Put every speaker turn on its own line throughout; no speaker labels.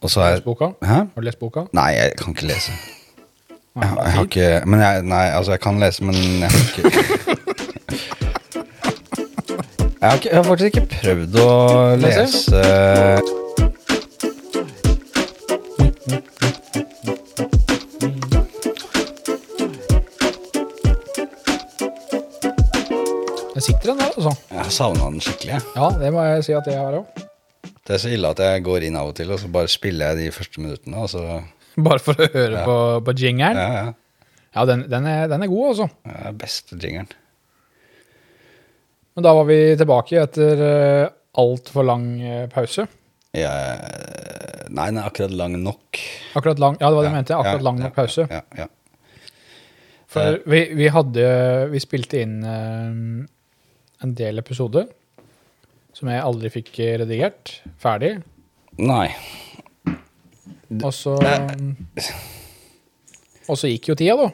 Og så er
Lest boka?
Hæ?
Har du lest boka?
Nei, jeg kan ikke lese. Jeg, har- jeg har ikke Men jeg Nei, altså, jeg kan lese, men jeg har ikke Jeg har, ikke, jeg har faktisk ikke prøvd å lese
Den sitter den der, altså.
Jeg har savna den skikkelig. jeg.
Ja, det må jeg si at jeg har òg.
Det er så ille at jeg går inn av og til, og så bare spiller jeg de første minuttene, og så
Bare for å høre på, på jingeren.
Ja, ja.
Ja, den, den, er, den er god, altså.
Det er beste jingeren.
Men da var vi tilbake etter eh, altfor lang eh, pause.
Jeg- eh, Nei, den er akkurat lang nok.
Akkurat lang, ja, det var det jeg mente. Akkurat
ja,
lang
ja,
nok pause.
Ja, ja.
For vi, vi hadde Vi spilte inn eh, en del episoder som jeg aldri fikk eh, redigert ferdig.
Nei.
Og så Og så gikk jo tida, da.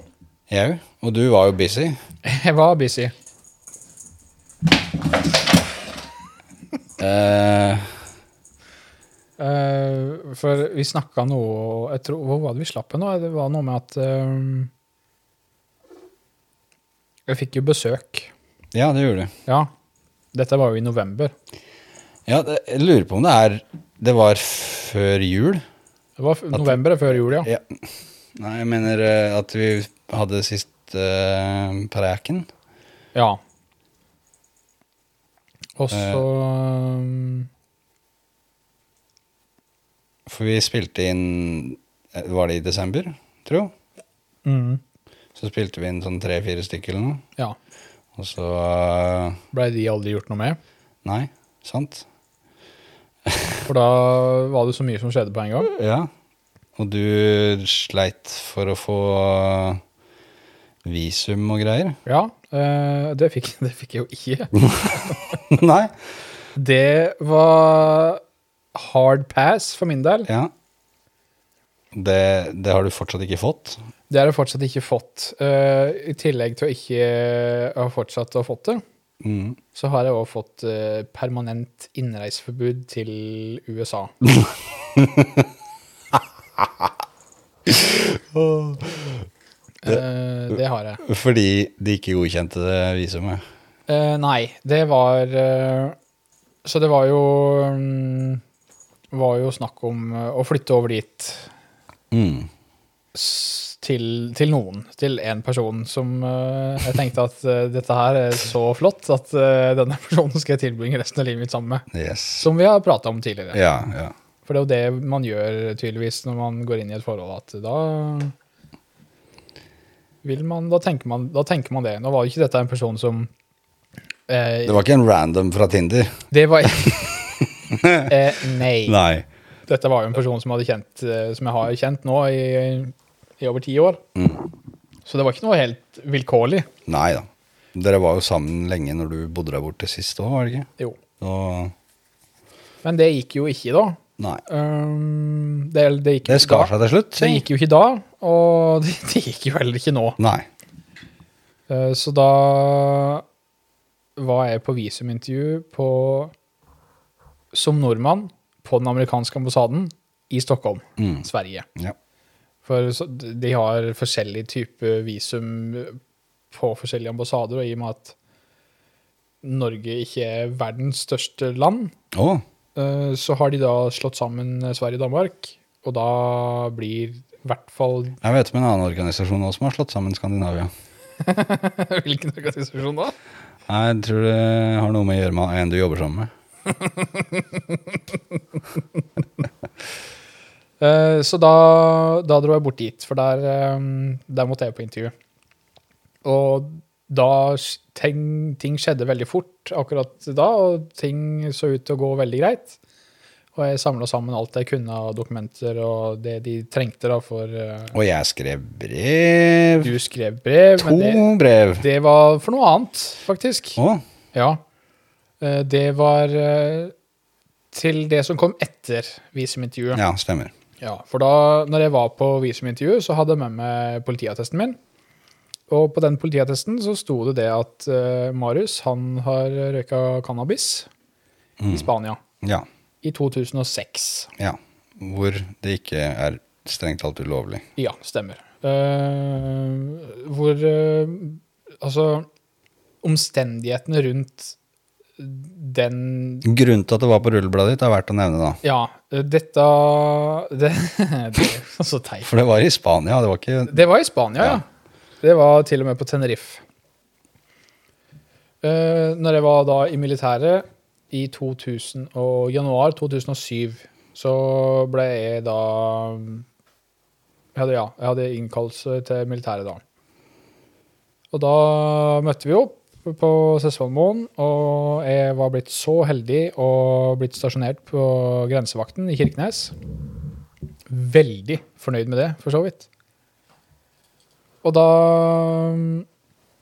Jau. Og du var jo busy.
Jeg var busy.
Eh,
Eh, for vi snakka noe jeg tror, Hvor var det vi slapp hen nå? Det var noe med at eh, Jeg fikk jo besøk.
ja, det gjorde du.
Ja. Dette var jo i november.
Ja, det, jeg lurer på om det er Det var før jul.
Det var f- november før jul, ja.
Ja. Nei, jeg mener eh, at vi hadde sist uh, preken.
ja. Og så eh,
For vi spilte inn eh, Var det i desember, tro?
mm,
Så spilte vi inn sånn tre-fire stykker eller noe.
Ja.
Og så eh,
Blei de aldri gjort noe med?
Nei, sant?
For da var det så mye som skjedde på en gang.
Ja. Og du sleit for å få eh, visum og greier?
Ja, eh, det, fikk, det fikk jeg jo ikke.
Nei.
Det var hard pass for min del.
Ja. Det, det har du fortsatt ikke fått?
Det har jeg fortsatt ikke fått. Eh, I tillegg til å ikke eh, ha fortsatt å ha fått det,
Mm.
så har jeg også fått eh, permanent innreiseforbud til USA. Eh, det har jeg.
Fordi de ikke godkjente det visumet?
Eh, nei, det var eh, Så det var jo mm, Var jo snakk om eh, å flytte over dit
Mm.
s- til, til noen, til en person som eh, jeg tenkte at eh, dette her er så flott at eh, denne personen skal jeg tilbringe resten av livet mitt sammen med.
Yes.
Som vi har prata om tidligere.
Ja, ja.
For det er jo det man gjør tydeligvis når man går inn i et forhold, at da vil man, da tenker man, da tenker man det. Nå var jo ikke dette en person som eh,
Det var ikke en random fra Tinder?
Det var eh, nei.
Nei.
Dette var jo en person som, hadde kjent, eh, som jeg har kjent nå i, i over ti år. Så det var ikke noe helt vilkårlig.
Mm. Nei da. Dere var jo sammen lenge når du bodde der borte sist òg, var det ikke?
Jo.
Og,
Men det gikk jo ikke da.
nei.
Um, det,
Det
det, gikk, jo ikke
skar
da.
seg til slutt,
det
si.
gikk jo ikke da, og det, det gikk jo heller ikke nå.
Nei.
Eh, Så da var jeg på visumintervju på, som nordmann på den amerikanske ambassaden i Stockholm,
Mm.
Sverige.
Ja.
For så- de har forskjellig type visum på forskjellige ambassader, og i og med at Norge ikke er verdens største land,
Å,
eh, så har de da slått sammen eh, Sverige og Danmark, og da blir i hvert fall
jeg vet om en annen organisasjon også som har slått sammen Skandinavia.
Hvilken organisasjon da?
Nei, Jeg tror det har noe med å gjøre med en du jobber sammen med.
Eh, Så da, da dro jeg bort dit, for der, eh, der måtte jeg på intervju. Og da s- ting, ting skjedde veldig fort akkurat da, og ting så ut til å gå veldig greit. Og jeg samla sammen alt jeg kunne av dokumenter og det de trengte da for eh,
Og jeg skrev brev.
Du skrev brev,
To
men det,
brev.
det var for noe annet, faktisk.
Å,
Ja. Eh, Det var eh, til det som kom etter visumintervjuet.
ja, stemmer.
Ja, for da når jeg var på visumintervju, så hadde jeg med meg politiattesten min. Og på den politiattesten så sto det det at eh, Marius han har røyka cannabis i Spania
Ja.
i 2006.
ja. hvor det ikke er strengt talt ulovlig.
Ja, stemmer. Eh, hvor eh, Altså, omstendighetene rundt den
Grunnen til at det var på rullebladet ditt, er verdt å nevne, da.
Ja, eh, dette Det, det er så teit.
For det var i Spania, det var ikke
Det var i Spania, ja. Det var til og med på Tenerife. Eh, når jeg var da i militæret i 2000 og januar 2007, så ble jeg da jeg hadde, Ja, jeg hadde innkallelse til militæret da. Og da møtte vi opp på Sessvollmoen, og jeg var blitt så heldig og blitt stasjonert på grensevakten i Kirkenes. Veldig fornøyd med det, for så vidt. Og da um,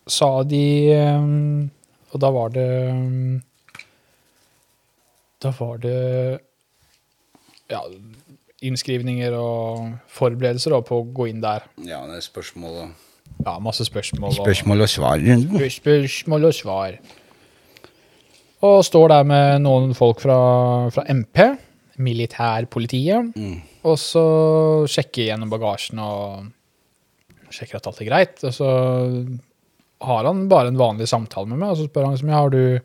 sa de um, Og da var det um, Da var det ja, innskrivninger og forberedelser da, på å gå inn der.
Ja, det er spørsmål og
Ja, masse spørsmål. og-
Spørsmål og svar.
Spør- Spørsmål og svar. Og står der med noen folk fra, fra MP, militærpolitiet,
Mm.
og så sjekker jeg gjennom bagasjen og sjekker at alt er greit. Og så har han bare en vanlig samtale med meg, og så spør han som jeg har du,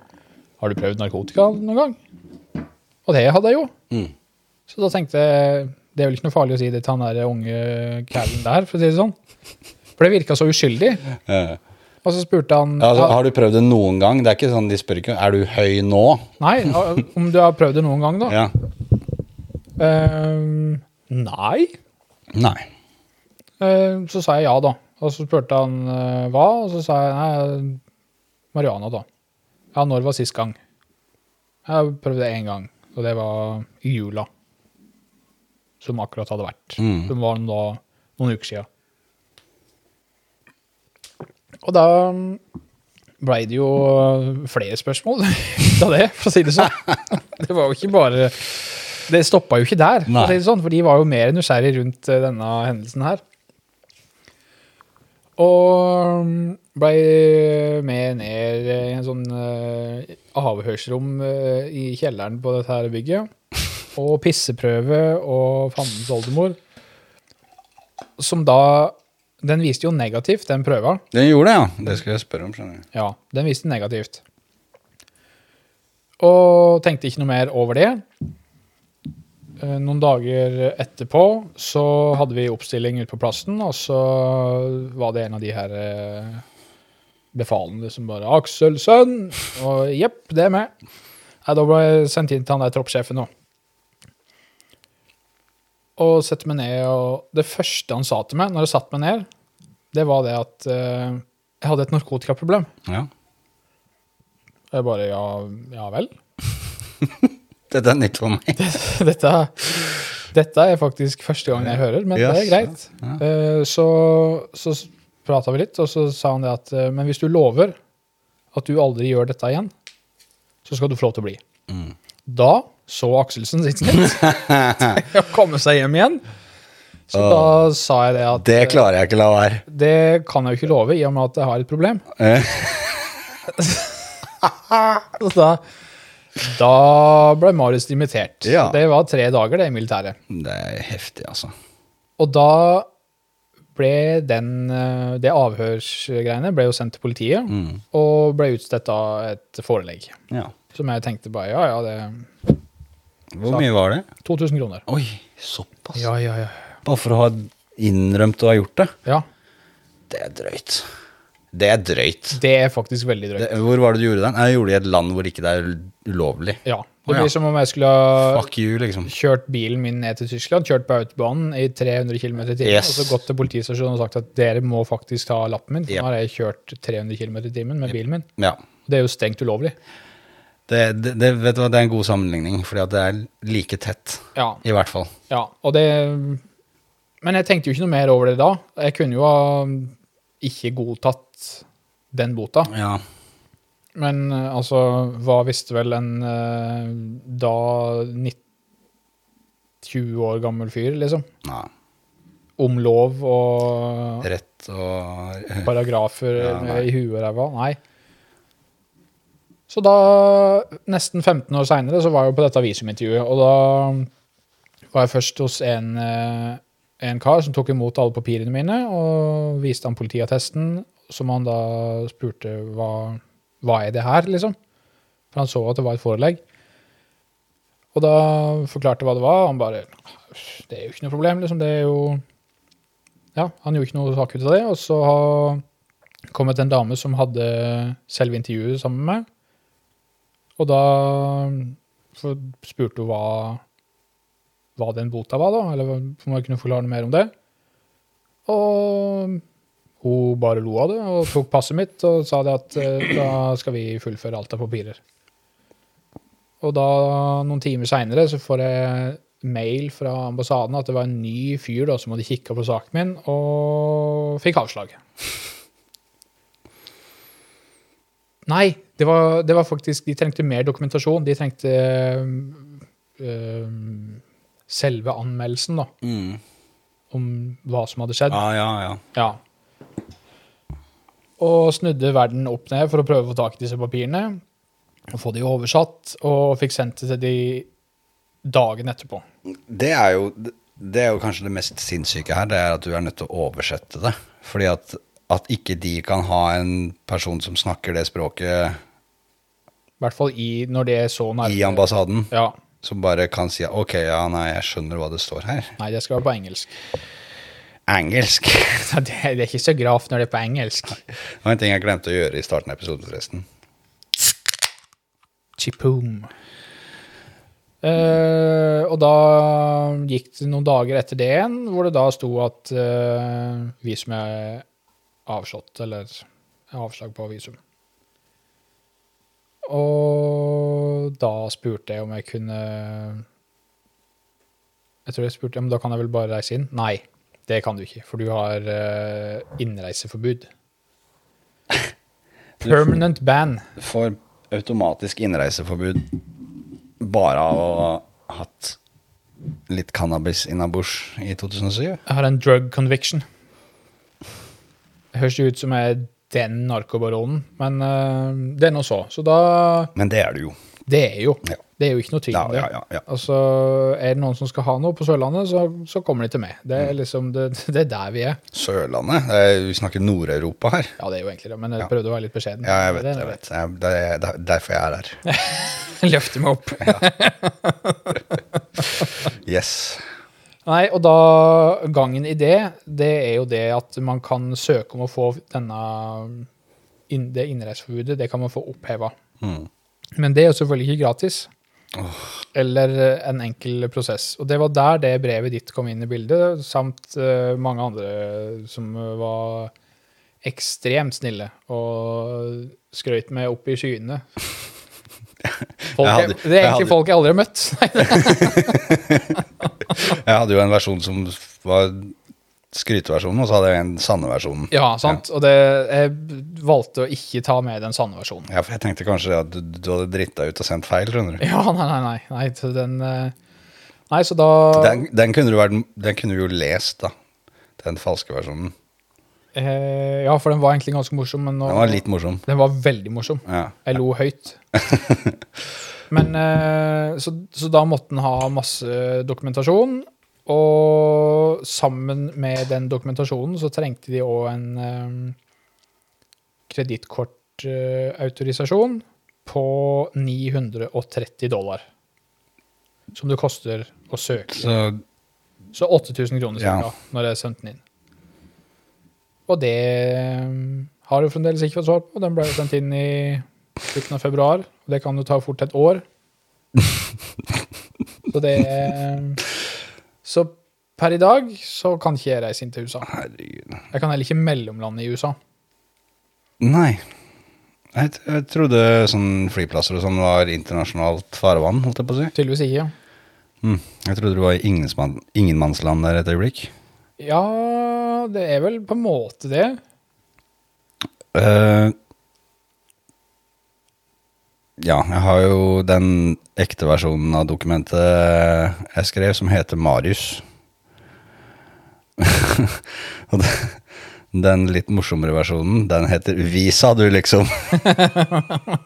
har du prøvd narkotika noen gang. Og det hadde jeg jo.
Mm.
Så da tenkte jeg det er vel ikke noe farlig å si det til han der unge kælen der, for å si det sånn. For det virka så uskyldig.
Eh,
Og så spurte han
ja, altså, har du prøvd det noen gang? Det er ikke sånn, De spør ikke er du høy nå.
Nei, om du har prøvd det noen gang, da?
Ja.
Ehm, nei.
Nei.
Ehm, så sa jeg ja, da. Og så spurte han eh, hva, og så sa jeg nei, marihuana, da. Ja, når var sist gang? Jeg prøvde én gang, og det var i jula. Som akkurat hadde vært.
Mm.
Som var da noen uker siden. Og da blei det jo eh, flere spørsmål ut av det, for å si det sånn. Det var jo ikke bare Det stoppa jo ikke der, for, å si det sånn, for de var jo mer nysgjerrig rundt eh, denne hendelsen her. Og blei med ned i en sånn eh, avhørsrom eh, i kjelleren på dette her bygget. Og pisseprøve og fandens oldemor. Som da Den viste jo negativt, den prøva.
Den gjorde det, ja. Det skal jeg spørre om. skjønner du.
Ja, den viste negativt. Og tenkte ikke noe mer over det. Eh, Noen dager etterpå så hadde vi oppstilling ute på plassen, og så var det en av de her eh, befalene som bare 'Aksel, sønn!' Og jepp, det er meg. Nei, da ble jeg sendt inn til han der troppssjefen nå. Og sette meg ned, og det første han sa til meg når jeg satte meg ned, det var det at eh, jeg hadde et narkotikaproblem.
Ja.
Og jeg bare ja, ja vel.
Dette er nytt for meg.
Dette, dette er faktisk første gang jeg hører, men det
Yes,
er greit. Eh, Så, så prata vi litt, og så sa han det at eh, Men hvis du lover at du aldri gjør dette igjen, så skal du få lov til å bli.
Mm.
Da så Akselsen sitt snitt til å komme seg hjem igjen. Så da sa jeg det at
Det
eh,
klarer jeg ikke la være.
det kan jeg jo ikke love, i og med at jeg har et problem.
Eh,
Så da, da ble Marius dimittert.
Ja.
Det var tre dager, det, i militæret.
Det er heftig, altså.
Og da ble den, eh, det avhørsgreiene ble jo sendt til politiet,
Mm.
og ble utstedt av et forelegg.
Ja.
Som jeg tenkte bare, ja, ja, det er
Hvor mye var det?
2000 kroner.
Oi, såpass.
Ja, ja, ja.
Bare for å ha innrømt å ha gjort det.
Ja,
Det er drøyt. Det er drøyt.
det er faktisk veldig drøyt.
Det, hvor var det du gjorde den? Jeg gjorde det i et land hvor ikke det er ulovlig.
Ja,
Å,
det
ja.
blir som om jeg skulle ha
Fuck you, liksom.
kjørt bilen min ned til Tyskland, kjørt på autobanen i 300 km i timen,
Yes.
og så gått til politistasjonen og sagt at dere må faktisk ta lappen min, for
Yep.
nå har jeg kjørt 300 km i timen med bilen min.
Ja.
Det er jo strengt ulovlig.
Det, det, det, vet du hva, det er en god sammenligning, fordi at det er like tett,
Ja,
i hvert fall.
Ja, og det Men jeg tenkte jo ikke noe mer over det da. Jeg kunne jo ha ikke godtatt den bota.
Ja.
Men eh, altså, hva visste vel en eh, da 19, 20 år gammel fyr, liksom?
Nei.
Om lov og
Rett og
paragrafer
Ja, nei.
eh, i huet og ræva. Nei. Så da, nesten 15 år seinere, så var jeg jo på dette visumintervjuet, og da var jeg først hos en, eh, en kar som tok imot alle papirene mine, og viste han politiattesten, som han da spurte hva, hva er det her, liksom. For han så at det var et forelegg. Og da forklarte hva det var, og han bare Det er jo ikke noe problem, liksom. Det er jo Ja, han gjorde ikke noe sak ut av det. Og så har kommet en dame som hadde selve intervjuet sammen med meg. Og da så spurte hun hva, hva den bota var, da, eller om jeg kunne forklare noe mer om det. Og hun bare lo av det og tok passet mitt og sa det at eh, da skal vi fullføre alt av papirer. Og da, noen timer seinere, så får jeg mail fra ambassaden at det var en ny fyr da, som hadde kikka på saken min, og fikk avslag. Nei, det var, det var faktisk De trengte mer dokumentasjon. De trengte øhm, selve anmeldelsen, da,
Mm.
om hva som hadde skjedd.
Ja, ja, ja.
Ja. Og snudde verden opp ned for å prøve å få tak i disse papirene. Og få de oversatt, og fikk sendt det til de dagen etterpå.
Det er jo, det er jo kanskje det mest sinnssyke her, det er at du er nødt til å oversette det. Fordi at, at ikke de kan ha en person som snakker det språket
I hvert fall i, når det er så nærme.
i ambassaden,
Ja.
som bare kan si ok, ja, nei, jeg skjønner hva det står her.
Nei, det skal være på engelsk.
Engelsk. Det
Det, det er ikke så gravt når det er på engelsk.
var en ting jeg glemte å gjøre i starten av episoden, forresten.
Chipoom. Eh, og da gikk det noen dager etter det igjen, hvor det da sto at eh, visum er avslått, eller er avslag på visum. Og da spurte jeg om jeg kunne Jeg tror jeg spurte om da kan jeg vel bare reise inn. Nei, det kan du ikke, for du har eh, innreiseforbud. Permanent ban.
Du får automatisk innreiseforbud bare av å ha hatt litt cannabis innabords i 2007.
Jeg har en drug conviction. Det høres jo ut som jeg er den narkobaronen, men eh, det er nå så. Så da
Men det er du jo.
Det er jo.
Ja.
Det er jo ikke noe tvil
Ja,
om det.
ja, ja, ja.
Altså, er det noen som skal ha noe på Sørlandet, så, så kommer de til meg. Det
Mm.
er liksom, det, det er der vi er.
Sørlandet. eh, Vi snakker Nord-Europa her.
Ja, det er jo egentlig det, men jeg
Ja.
prøvde å være litt beskjeden.
Ja, jeg vet,
Det er
jeg
noe
vet. Jeg- Det er det er derfor jeg er her.
greit. Løfte meg opp.
Yes.
Nei, og da gangen i det, det er jo det at man kan søke om å få denne inn- det innreiseforbudet, det kan man få oppheva.
Mm.
Men det er jo selvfølgelig ikke gratis. Eller eh, en enkel prosess. Og det var der det brevet ditt kom inn i bildet, samt eh, mange andre som eh, var ekstremt snille og skrøyt meg opp i skyene. Folk, jeg-
hadde-
det er
jeg
egentlig
hadde-
folk jeg aldri har møtt.
Jeg hadde jo en versjon som var skryteversjonen, og så hadde jeg en sanne versjon.
ja, sant? Og det, jeg valgte å ikke ta med den sanne versjonen.
Ja, for jeg tenkte kanskje at du, du hadde dritta ut og sendt feil, skjønner du.
Ja, nei, nei, nei. Nei, så den, eh, nei så da
Den, den, kunne du vært, den kunne du jo lest, da. Den falske versjonen.
eh, Ja, for den var egentlig ganske morsom, men nå,
Den var litt morsom.
den var veldig morsom.
Ja.
Jeg lo høyt. Men eh, så, så da måtte han ha masse dokumentasjon. Og sammen med den dokumentasjonen så trengte de òg en um, kredittkortautorisasjon på 930 dollar. Som det koster å søke.
Så
Så 8000 kroner
Ja.
cirka, når jeg sendte den inn. Og det um, har du fremdeles ikke fått svar på. Den ble sendt inn i slutten av februar. og Det kan jo ta fort et år. Så det um, Så per i dag så kan ikke jeg reise inn til USA.
Herregud.
Jeg kan heller ikke mellomlande i USA.
Nei. Jeg, t- jeg trodde sånn flyplasser og sånn var internasjonalt farvann, holdt jeg på å si.
Tydeligvis ikke.
Mm. Jeg trodde du var i ingenmann- ingenmannsland der et øyeblikk.
Ja, det er vel på en måte det.
Eh, ja, jeg har jo den ekte versjonen av dokumentet jeg skrev, som heter Marius. Og det- den litt morsommere versjonen, den heter Visa, du, liksom.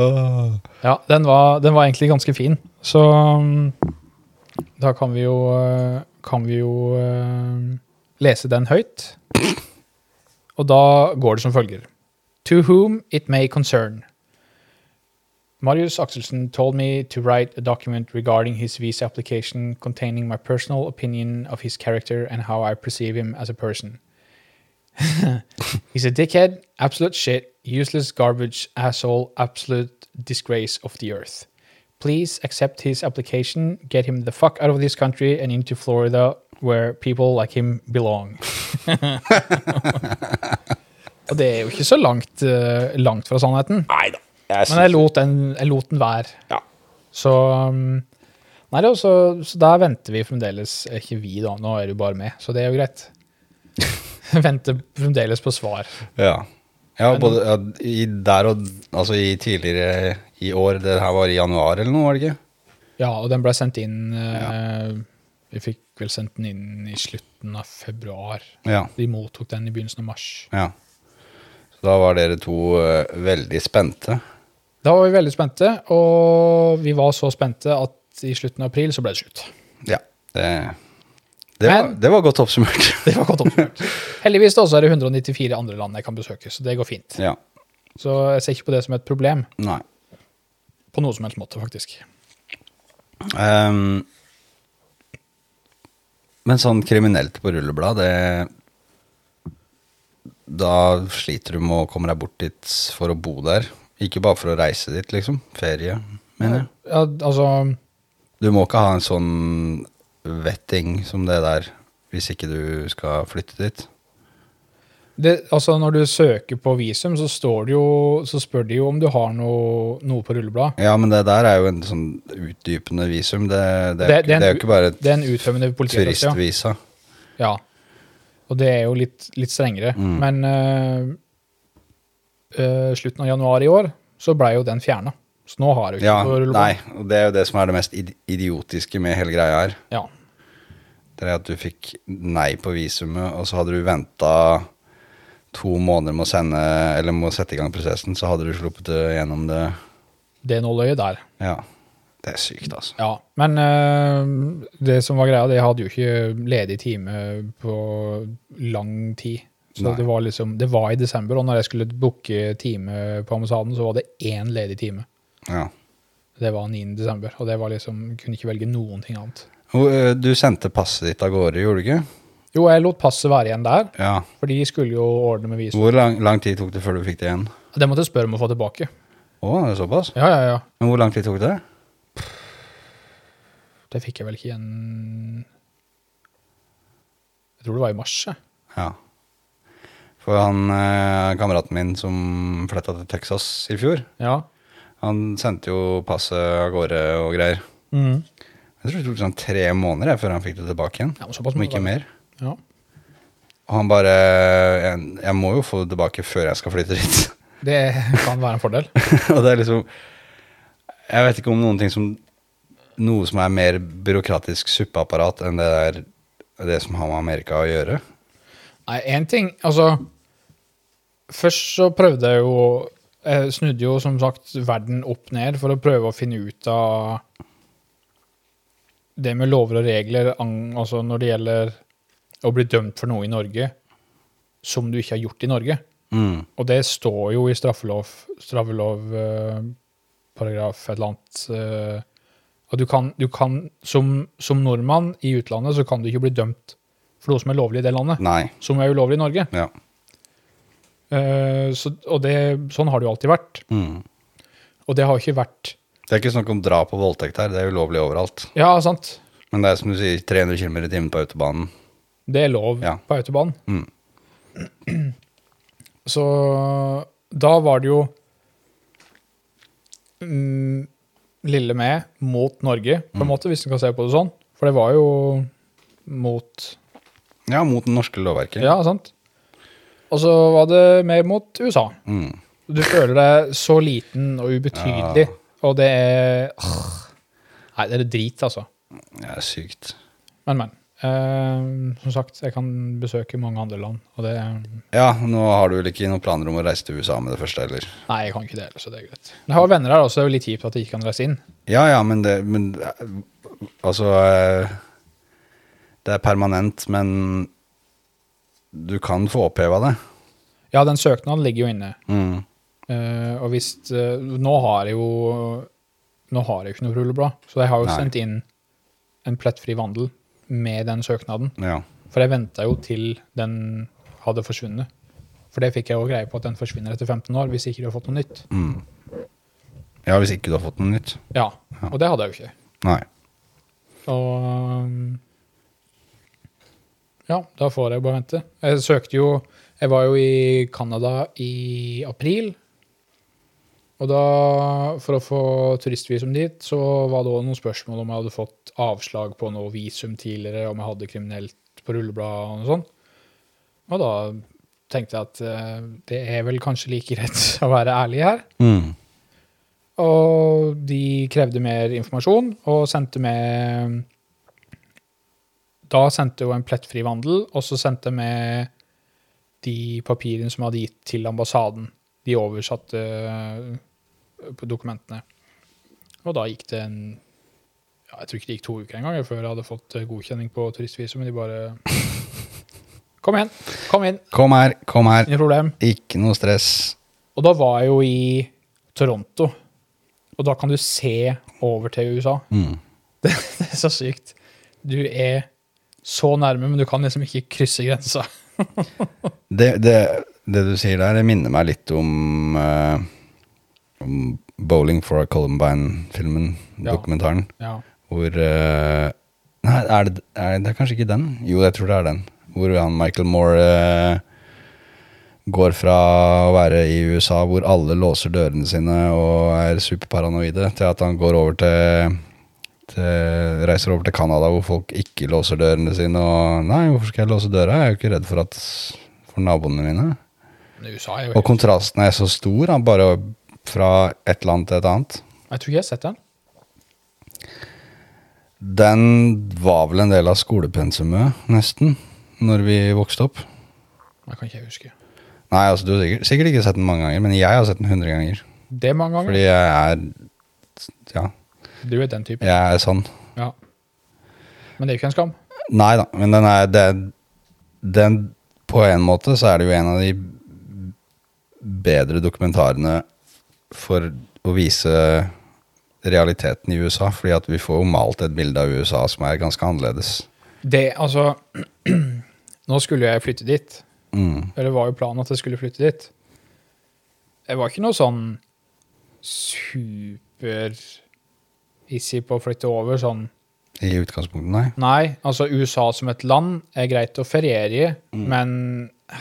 Ah.
Ja, den var, den var egentlig ganske fin. Så um, da kan vi jo eh, kan vi jo eh, lese den høyt. Og da går det som følger. To whom it may concern. Marius Axelsen told me to write a document regarding his visa application containing my personal opinion of his character and how I perceive him as a person. He's a dickhead, absolute shit, useless garbage, asshole, absolute disgrace of the earth. Please accept his application, get him the fuck out of this country and into Florida, where people like him belong. Og det er jo ikke så langt, eh, langt fra sannheten,
Nei da. Jeg
men jeg
synes,
lot den, jeg lot den være.
ja.
Så um, Nei, det er også, så der venter vi fremdeles eh, Ikke vi, da, nå er du bare med, så det er jo greit. venter fremdeles på svar.
Ja. ja, både, ja i, der og Altså i tidligere i år, det her var i januar eller noe, var det ikke?
Ja, og den ble sendt inn eh, Vi fikk vel sendt den inn i slutten av februar.
Ja.
De mottok den i begynnelsen av mars.
ja. Så da var dere to eh, veldig spente.
Da var vi veldig spente, og vi var så spente at i slutten av april så ble det slutt.
Ja. Det, det, var,
Men-
det var godt oppsummert.
Det var godt oppsummert. Heldigvis da, så er det 194 andre land jeg kan besøke, så det går fint.
ja.
Så jeg ser ikke på det som et problem
Nei.
på noen som helst måte, faktisk.
Ehm, men sånn kriminelt på rulleblad, det Da sliter du med å komme deg bort dit for å bo der. Ikke bare for å reise dit, liksom. Ferie, mener jeg.
Ja, altså
Du må ikke ha en sånn vetting som det der hvis ikke du skal flytte dit.
det, altså Når du søker på visum, så, står det jo, så spør de jo om du har noe, noe på rullebladet.
Ja, men det der er jo en sånn utdypende visum. Det, det, er,
Det-
ikke-
det er en
det er jo ikke bare et
Det er en utfømmende politiattest, ja.
turistvisa.
ja. Og det er jo litt, litt strengere.
Mm.
Men øh, øh, slutten av januar i år så blei jo den fjerna. Så nå har du ikke
Ja,
på
nei,
rullebladet.
og det er jo det som er det mest id- idiotiske med hele greia her.
Ja.
Det er at du fikk nei på visumet, og så hadde du venta to måneder med å sende Eller med å sette i gang prosessen, så hadde du sluppet det gjennom det
Det nåløyet der.
Ja. Det er sykt, altså.
Ja. Men øh, det som var greia, det hadde jo ikke ledig time på lang tid. Så
Nei.
det var liksom, det var i desember, og når jeg skulle booke time på ambassaden, så var det én ledig time.
Ja.
Det var 9. desember, og det var liksom, kunne ikke velge noen ting annet.
Og, ø, eh, Du sendte passet ditt av gårde, gjorde du ikke?
Jo, jeg lot passet være igjen der,
Ja.
for de skulle jo ordne med visum.
Hvor lang, lang tid tok det før du fikk det igjen?
Det måtte jeg spørre om å få tilbake.
Å, det er såpass?
Ja, ja, ja.
Men hvor lang tid tok det?
Det fikk jeg vel ikke igjen Jeg tror det var i mars. jeg.
Ja. For han ø, kameraten min som flytta til Texas i fjor,
Ja.
han sendte jo passet av gårde og greier.
Mm.
Jeg tror det tok sånn tre måneder jeg, før han fikk det tilbake igjen.
ja men såpass
Om
må det sånn
ikke
være.
mer.
Ja.
Og han bare jeg, jeg må jo få det tilbake før jeg skal flytte dit.
Det kan være en fordel.
og det er liksom Jeg vet ikke om noen ting som Noe som er mer byråkratisk suppeapparat enn det der det som har med Amerika å gjøre.
Nei, én ting Altså, først så prøvde jeg jo Jeg snudde jo som sagt verden opp ned for å prøve å finne ut av det med lover og regler ang- altså når det gjelder å bli dømt for noe i Norge som du ikke har gjort i Norge.
Mm.
Og det står jo i straffelov, straffelov eh, paragraf et eller annet eh, at du kan, du kan som, som nordmann i utlandet så kan du ikke bli dømt for noe som er lovlig i det landet
Nei.
som er ulovlig i Norge.
Ja.
Eh, så, og det, sånn har det jo alltid vært.
Mm.
Og det har jo ikke vært
Det er ikke snakk om drap og voldtekt her. Det er ulovlig overalt.
Ja, sant.
Men det er som du sier, 300 km i timen på autobanen.
Det er lov
Ja.
på autobahn.
Mm.
Så da var det jo mm, lille med mot Norge, på en måte, hvis du kan se på det sånn. For det var jo mot
Ja, mot det norske lovverket.
Ja, sant. Og så var det mer mot USA.
Mm.
Du føler deg så liten og ubetydelig, og det er Åh. Nei, det er drit, altså.
Det er sykt.
Men, men. Eh, som sagt, jeg kan besøke mange andre land, og det
Ja, nå har du vel ikke noen planer om å reise til USA med det første heller?
Nei, jeg kan ikke det heller, så det er greit. Men Jeg har venner her også, det er jo litt kjipt at jeg ikke kan reise inn.
Ja, ja, men det men, eh, Altså eh, Det er permanent, men du kan få oppheva det.
Ja, den søknaden ligger jo inne.
Mm.
Eh, og hvis eh, Nå har jeg jo Nå har jeg jo ikke noe rulleblad, så jeg har jo
Nei.
sendt inn en plettfri vandel med den søknaden.
Ja.
For jeg venta jo til den hadde forsvunnet. For det fikk jeg jo greie på, at den forsvinner etter 15 år hvis ikke du har fått noe nytt.
Mm. ja, hvis ikke du har fått noe nytt.
Ja,
Ja.
Og det hadde jeg jo ikke.
Nei.
Og um, Ja, da får jeg bare vente. Jeg søkte jo Jeg var jo i Canada i april. Og da, for å få turistvisum dit, så var det også noen spørsmål om jeg hadde fått avslag på noe visum tidligere, om jeg hadde kriminelt på rullebladet og noe sånt. Og da tenkte jeg at eh, det er vel kanskje like greit å være ærlig her.
Mm.
Og de krevde mer informasjon og sendte med Da sendte jo en plettfri vandel, og så sendte med de papirene som jeg hadde gitt til ambassaden. De oversatte øh, på dokumentene. Og da gikk det en ja, Jeg tror ikke det gikk to uker engang jeg, før jeg hadde fått øh, godkjenning på turistvisum. Men de bare Kom igjen! Kom inn!
Kom her, kom her.
Ingen problem.
Ikke noe stress.
Og da var jeg jo i Toronto, og da kan du se over til USA.
Mm.
Det er så sykt. Du er så nærme, men du kan liksom ikke krysse grensa.
Det, det, det du sier der, det minner meg litt om, eh, om Bowling for Columbine-filmen,
Ja.
dokumentaren,
Ja.
hvor eh, Nei, er det, er det kanskje ikke den? Jo, jeg tror det er den. Hvor han Michael Moore eh, går fra å være i USA hvor alle låser dørene sine og er superparanoide, til at han går over til, til reiser over til Canada hvor folk ikke låser dørene sine. Og nei, hvorfor skal jeg låse døra? Jeg er jo ikke redd for, at, for naboene mine.
Men USA er jo
Og kontrasten er så stor, han bare fra et land til et annet.
Jeg tror ikke jeg har sett den.
Den var vel en del av skolepensumet, nesten, når vi vokste opp.
Jeg kan ikke jeg huske.
Nei, altså, du har sikkert, sikkert ikke sett den mange ganger, men jeg har sett den 100 ganger.
Det er mange ganger.
Fordi jeg er Ja,
Du er den typen.
jeg er sånn.
Ja. Men det er jo ikke en skam.
Nei da, men den er det, den, På en måte så er det jo en av de bedre dokumentarene for å vise realiteten i USA, fordi at vi får jo malt et bilde av USA som er ganske annerledes.
Det, altså Nå skulle jeg flytte dit.
Mm.
Eller var jo planen at jeg skulle flytte dit. Jeg var ikke noe sånn super-issy på å flytte over. sånn.
I utgangspunktet, nei.
Nei, altså USA som et land er greit å feriere i,
Mm.
men eh,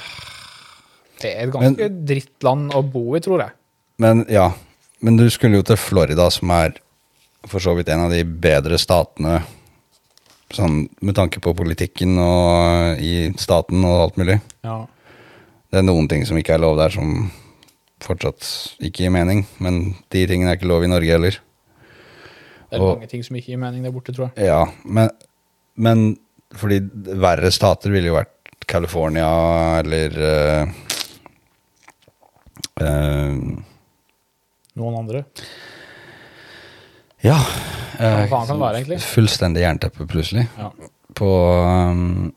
det er et ganske drittland å bo i, tror jeg.
Men ja, men du skulle jo til Florida, som er for så vidt en av de bedre statene sånn, med tanke på politikken og i staten og alt mulig.
Ja.
Det er noen ting som ikke er lov der, som fortsatt ikke gir mening. Men de tingene er ikke lov i Norge heller.
Det er
Og-
mange ting som ikke gir mening der borte, tror jeg.
Ja, men, men fordi verre stater ville jo vært California eller eh, eh,
Noen andre.
Ja.
Hva faen kan det være, egentlig?
Fullstendig jernteppe, plutselig.
Ja.
På um,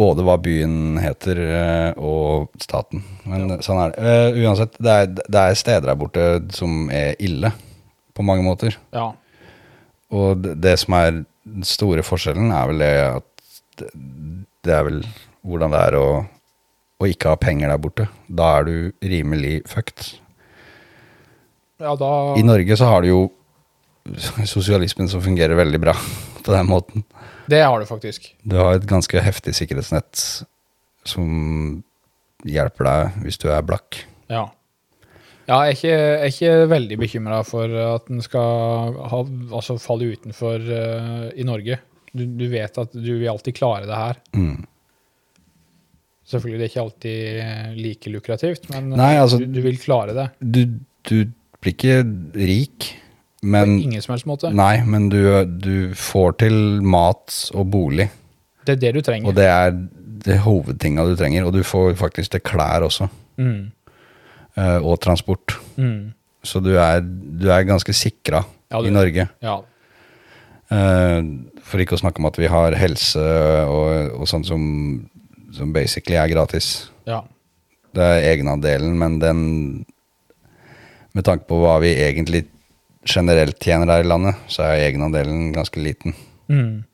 både hva byen heter eh, og staten. Men eh, sånn er det. Eh, uansett, det er, det er steder der borte som er ille på mange måter.
Ja.
Og det, det som er den store forskjellen, er vel det at det, det er vel hvordan det er å, å ikke ha penger der borte. Da er du rimelig fucked.
ja, da
I Norge så har du jo sosialismen som fungerer veldig bra på den måten.
Det har du faktisk.
Du har et ganske heftig sikkerhetsnett som hjelper deg hvis du er blakk.
Ja. Ja, jeg er ikke, jeg er ikke veldig bekymra for at den skal ha, altså falle utenfor eh, i Norge. Du, du vet at du vil alltid klare det her.
Mm.
Selvfølgelig det er ikke alltid eh, like lukrativt, men
Nei, altså-
du, du vil klare det.
Du, du blir ikke rik Men,
på ingen som helst måte.
nei, men du, du får til mat og bolig,
Det er det du
og
trenger.
det er det hovedtinga du trenger. Og du får faktisk til klær også,
Mm.
eh, og transport.
Mm.
Så du er, du er ganske sikra
Ja, du-
i Norge.
Ja.
Eh, for ikke å snakke om at vi har helse og, og sånt som, som basically er gratis.
ja.
Det er egenandelen, men den Med tanke på hva vi egentlig generelt tjener her i landet, så er egenandelen ganske liten.
Mm.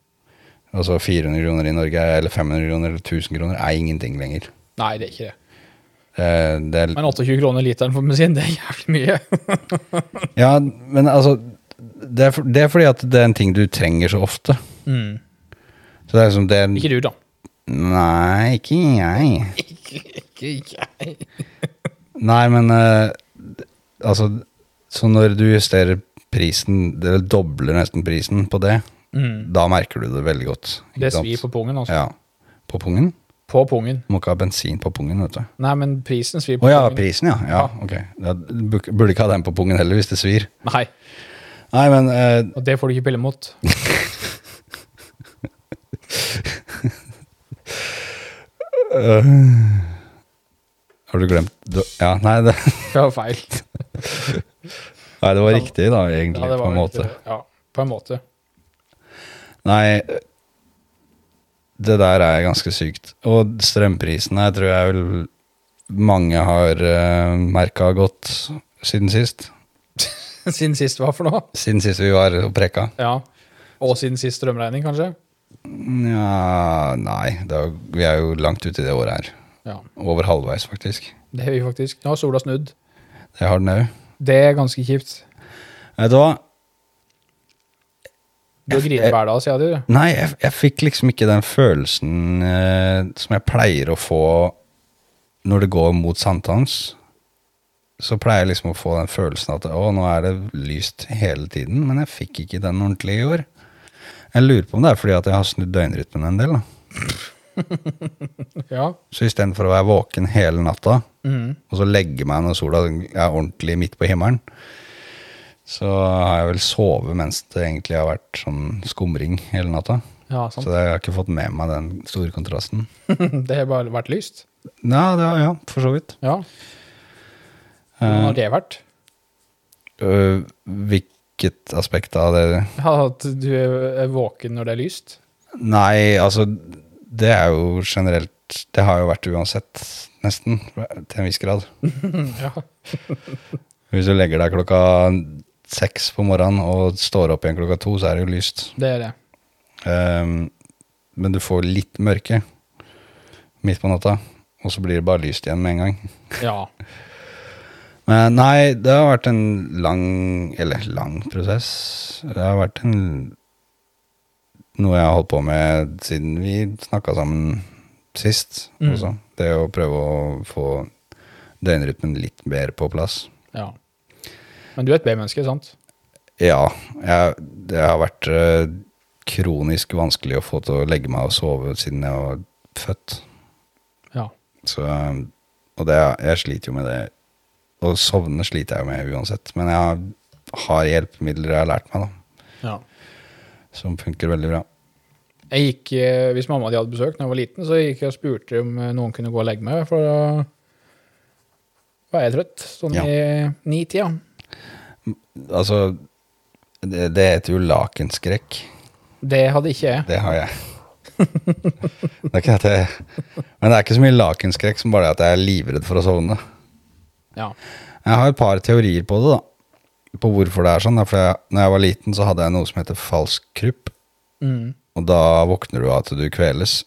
Altså 400 kroner i Norge, eller 500 kroner, eller 1000 kroner, er ingenting lenger.
Nei, det er ikke det.
Eh, Det er,
Men 28 kroner literen for bensin, det er jævlig mye.
ja, men altså det er, for, det er fordi at det er en ting du trenger så ofte.
Mm.
Så det er liksom det er,
Ikke du, da.
Nei, ikke jeg.
Ikke jeg.
Nei, men eh, altså Så når du justerer prisen, eller dobler nesten prisen på det,
Mm.
da merker du det veldig godt. ikke
Det
sant?
svir på pungen, altså.
Ja. På pungen?
På pungen.
Du må ikke ha bensin på pungen, vet du.
Nei, men prisen svir
Å
på
ja,
pungen.
prisen, ja. ja ok. Ja, du bur- burde ikke ha den på pungen heller, hvis det svir.
Nei,
Nei, men eh,
og det får du ikke pille mot.
Har du glemt du, Ja, nei det,
Det var feil.
nei, det var riktig, da, egentlig,
Ja, det
på
var
en
vel-
måte.
Ja, på en måte.
Nei, det der er ganske sykt. Og strømprisene tror jeg vel mange har uh, merka godt siden sist.
Siden sist hva for noe?
Siden sist vi var og preka.
Ja. Og siden sist strømregning, kanskje?
Nja, nei, det er, jo- vi er jo langt ute i det året her.
Ja.
Over halvveis, faktisk.
Det har vi faktisk. Nå har sola snudd.
Det har den òg.
Det er ganske kjipt.
Vet du hva?
Du har
Eh,
grinet hver dag, sier du.
Nei, jeg, jeg fikk liksom ikke den følelsen eh, som jeg pleier å få når det går mot sankthans. Så pleier jeg liksom å få den følelsen at å, nå er det lyst hele tiden, men jeg fikk ikke den ordentlig i år. Jeg lurer på om det er fordi at jeg har snudd døgnrytmen en del. da.
Ja.
Så istedenfor å være våken hele natta,
Mhm.
og så legge meg når sola er ordentlig midt på himmelen, så har jeg vel sovet mens det egentlig har vært sånn skumring hele natta.
Ja,
Så
sant.
jeg har ikke fått med meg den store kontrasten.
Det har bare vært lyst.
Ja, det, ja for så vidt.
Ja. Hvordan har
Eh.
det vært?
Øh, hvilket aspekt av det
Ja, At du er våken når det er lyst?
Nei, altså, det er jo generelt Det har jo vært uansett, nesten, til en viss grad.
Ja.
Hvis du legger deg klokka seks på morgenen og står opp igjen klokka to, så er det jo lyst.
Det er det.
Ehm, men du får litt mørke midt på natta, og så blir det bare lyst igjen med en gang.
Ja.
Men nei, det har vært en lang Eller lang prosess. Det har vært en noe jeg har holdt på med siden vi snakka sammen sist
Mm.
også. Det å prøve å få døgnrytmen litt mer på plass.
ja. Men du er et B-menneske, sant?
Ja, jeg, det har vært eh, kronisk vanskelig å få til å legge meg og sove siden jeg var født.
Ja.
Så, um, og det, jeg sliter jo med det. Og sovne sliter jeg jo med uansett. Men jeg har, har hjelpemidler jeg har lært meg, da,
ja.
som funker veldig bra.
Jeg gikk, eh, Hvis mamma og de hadde besøk da jeg var liten, så gikk jeg og spurte om eh, noen kunne gå og legge meg. For da var jeg trøtt. Sånn
Ja.
i ni-tida.
Altså, det, det heter jo lakenskrekk.
Det hadde ikke jeg.
Det har jeg. det er ikke at jeg Men det er ikke så mye lakenskrekk som bare det at jeg er livredd for å sovne.
Ja.
Jeg har et par teorier på det, da. På hvorfor det er sånn. For jeg, når jeg var liten, så hadde jeg noe som heter falsk krypp.
Mm.
Og da våkner du av at du kveles.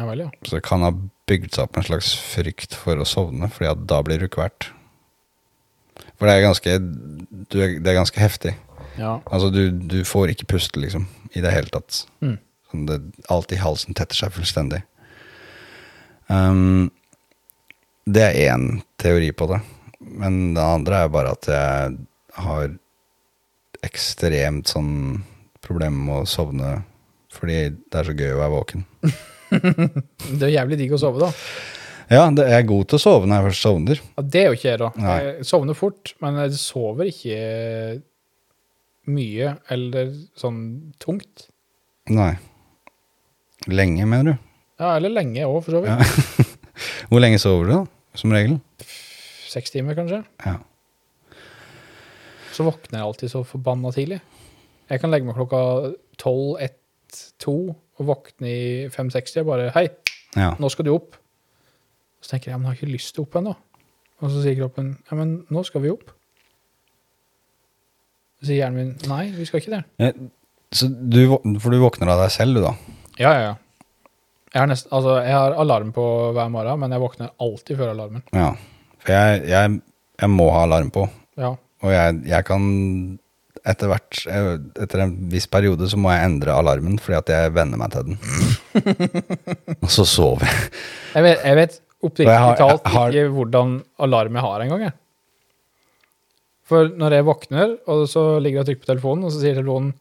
ja vel, ja.
Så det kan ha bygd seg opp en slags frykt for å sovne, fordi at da blir du kvert. For det er ganske, du er, det er ganske heftig.
ja.
Altså, du, du får ikke puste, liksom, i det hele tatt.
Mm.
Sånn det, alt i halsen tetter seg fullstendig. Ehm, det er én teori på det. Men det andre er bare at jeg har ekstremt sånn problem med å sovne fordi det er så gøy å være våken.
Det er jævlig digg å sove, da.
Ja, det, jeg er god til å sove når jeg først sovner.
Ja, det er jo ikke jeg, da.
Nei.
Jeg sovner fort, men jeg sover ikke mye eller sånn tungt.
Nei. Lenge, mener du?
Ja, eller lenge òg, for så vidt.
Ja. Hvor lenge sover du, da? Som regel?
Seks timer, kanskje.
Ja.
Så våkner jeg alltid så forbanna tidlig. Jeg kan legge meg klokka tolv, ett, to, og våkne i fem-seksti. Bare 'hei,
ja.
nå skal du opp'. Så tenker jeg ja, men jeg har ikke lyst til å opp ennå. Og så sier kroppen ja, men nå skal vi opp. Så sier hjernen min nei, vi skal ikke det.
Eh, Så du, vå- for du våkner av deg selv, du, da?
Ja, ja, ja. Jeg har, nest, altså, jeg har alarm på hver morgen, men jeg våkner alltid før alarmen.
Ja. For jeg, jeg, jeg må ha alarm på.
Ja,
Og jeg, jeg kan etter hvert jeg- Etter en viss periode så må jeg endre alarmen fordi at jeg venner meg til den. og så sover jeg.
Jeg vet, jeg vet
Og jeg har-
oppriktig talt
jeg har-
ikke hvordan alarm jeg har engang. jeg. For når jeg våkner, og så ligger jeg og trykker på telefonen, og så sier telefonen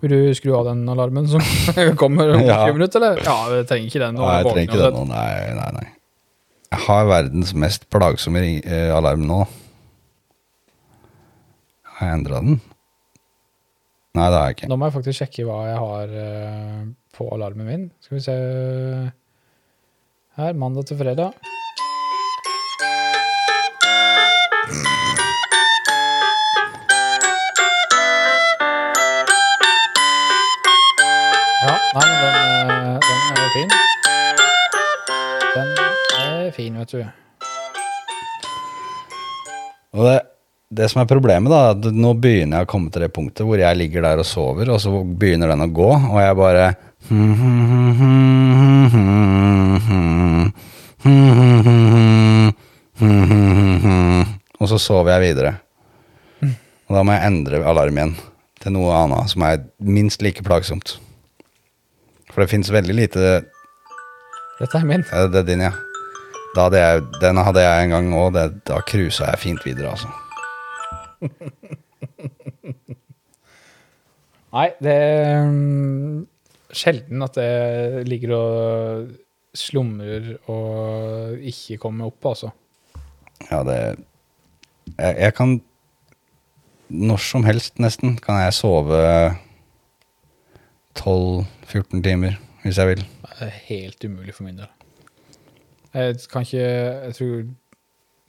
Vil du skru av den alarmen som kommer om 20
Ja.
minutter, eller? Ja, jeg trenger ikke den. Eh, nå
Nei,
er
jeg trenger ikke
våken
det nå. Nei, nei, nei. Jeg har verdens mest plagsomme ring- eh, alarm nå. Har jeg endra den? Nei, det har jeg
uansett.
ikke.
Nå må jeg faktisk sjekke hva jeg har eh, på alarmen min. Skal vi se eh, Her, mandag til fredag. Ja, nei, men den, eh, den er jo fin. Den er fin, vet du.
Og det, det som er problemet, da, er at nå begynner jeg å komme til det punktet hvor jeg ligger der og sover, og så begynner den å gå, og jeg bare Og så sover jeg videre. Og da må jeg endre alarmen til noe annet som er minst like plagsomt. For det fins veldig lite
Dette er min.
ja, det er din, ja. Da hadde jeg, den hadde jeg en gang òg. Da cruisa jeg fint videre, altså.
Nei, det er mm, sjelden at jeg ligger og slumrer og ikke kommer opp, altså.
Ja, det jeg, jeg kan Når som helst, nesten, kan jeg sove 12-14 timer, hvis jeg vil.
Det er helt umulig for min del. Jeg kan ikke Jeg tror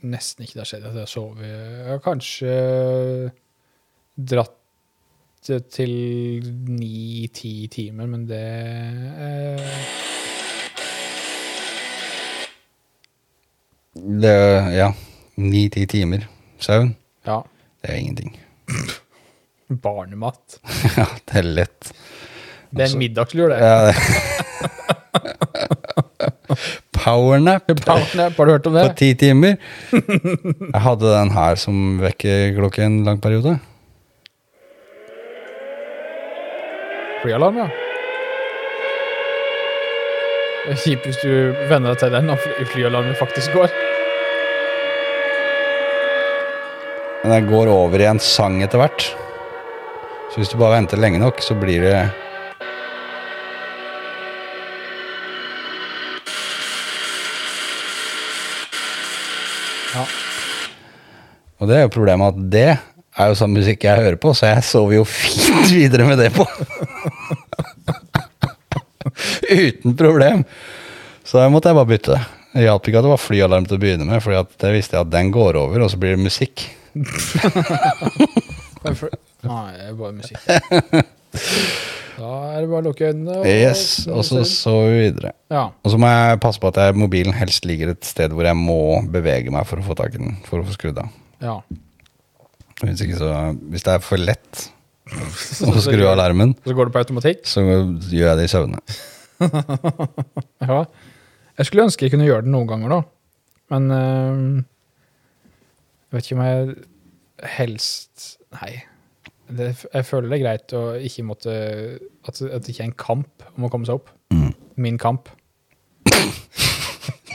nesten ikke det har skjedd at jeg har sovet Jeg har kanskje dratt det til ni-ti timer, men det eh,
Det, ja. 9-10 timer søvn,
Ja.
det er ingenting.
Barnemat.
ja, det er lett.
Det er
Altså,
en middagslur, det.
Ja, det. Powernap
Powernap, har du hørt om
på
det?
ti timer. Jeg hadde den her som vekkerklokke en lang periode.
Flyalarm, ja. Det er kjipt hvis du venner deg til den når fly- flyalarmen faktisk går.
Men den går over i en sang etter hvert. Så hvis du bare venter lenge nok, så blir det
Ja.
Og det er jo problemet at det er jo sånn musikk jeg hører på, så jeg sover jo fint videre med det på. Uten problem. Så da måtte jeg bare bytte. Det hjalp ikke at det var flyalarm til å begynne med, for det visste jeg at den går over, og så blir det musikk.
Men for- Nei, det er bare musikk. Da er det bare å lukke øynene. og-
Yes, Og så sover vi videre.
Ja.
Og så må jeg passe på at jeg, mobilen helst ligger et sted hvor jeg må bevege meg for å få tak i den, for å få skrudd av.
ja.
Hvis, ikke så, hvis det er for lett
Så,
å skru av alarmen,
så går det på automatikk.
så gjør jeg det i søvne.
Ja. Jeg skulle ønske jeg kunne gjøre det noen ganger, da. Men øhm, jeg vet ikke om jeg helst Nei. Det, jeg føler det er greit å ikke måtte At, at det ikke er en kamp om å komme seg opp.
Mm.
Min kamp.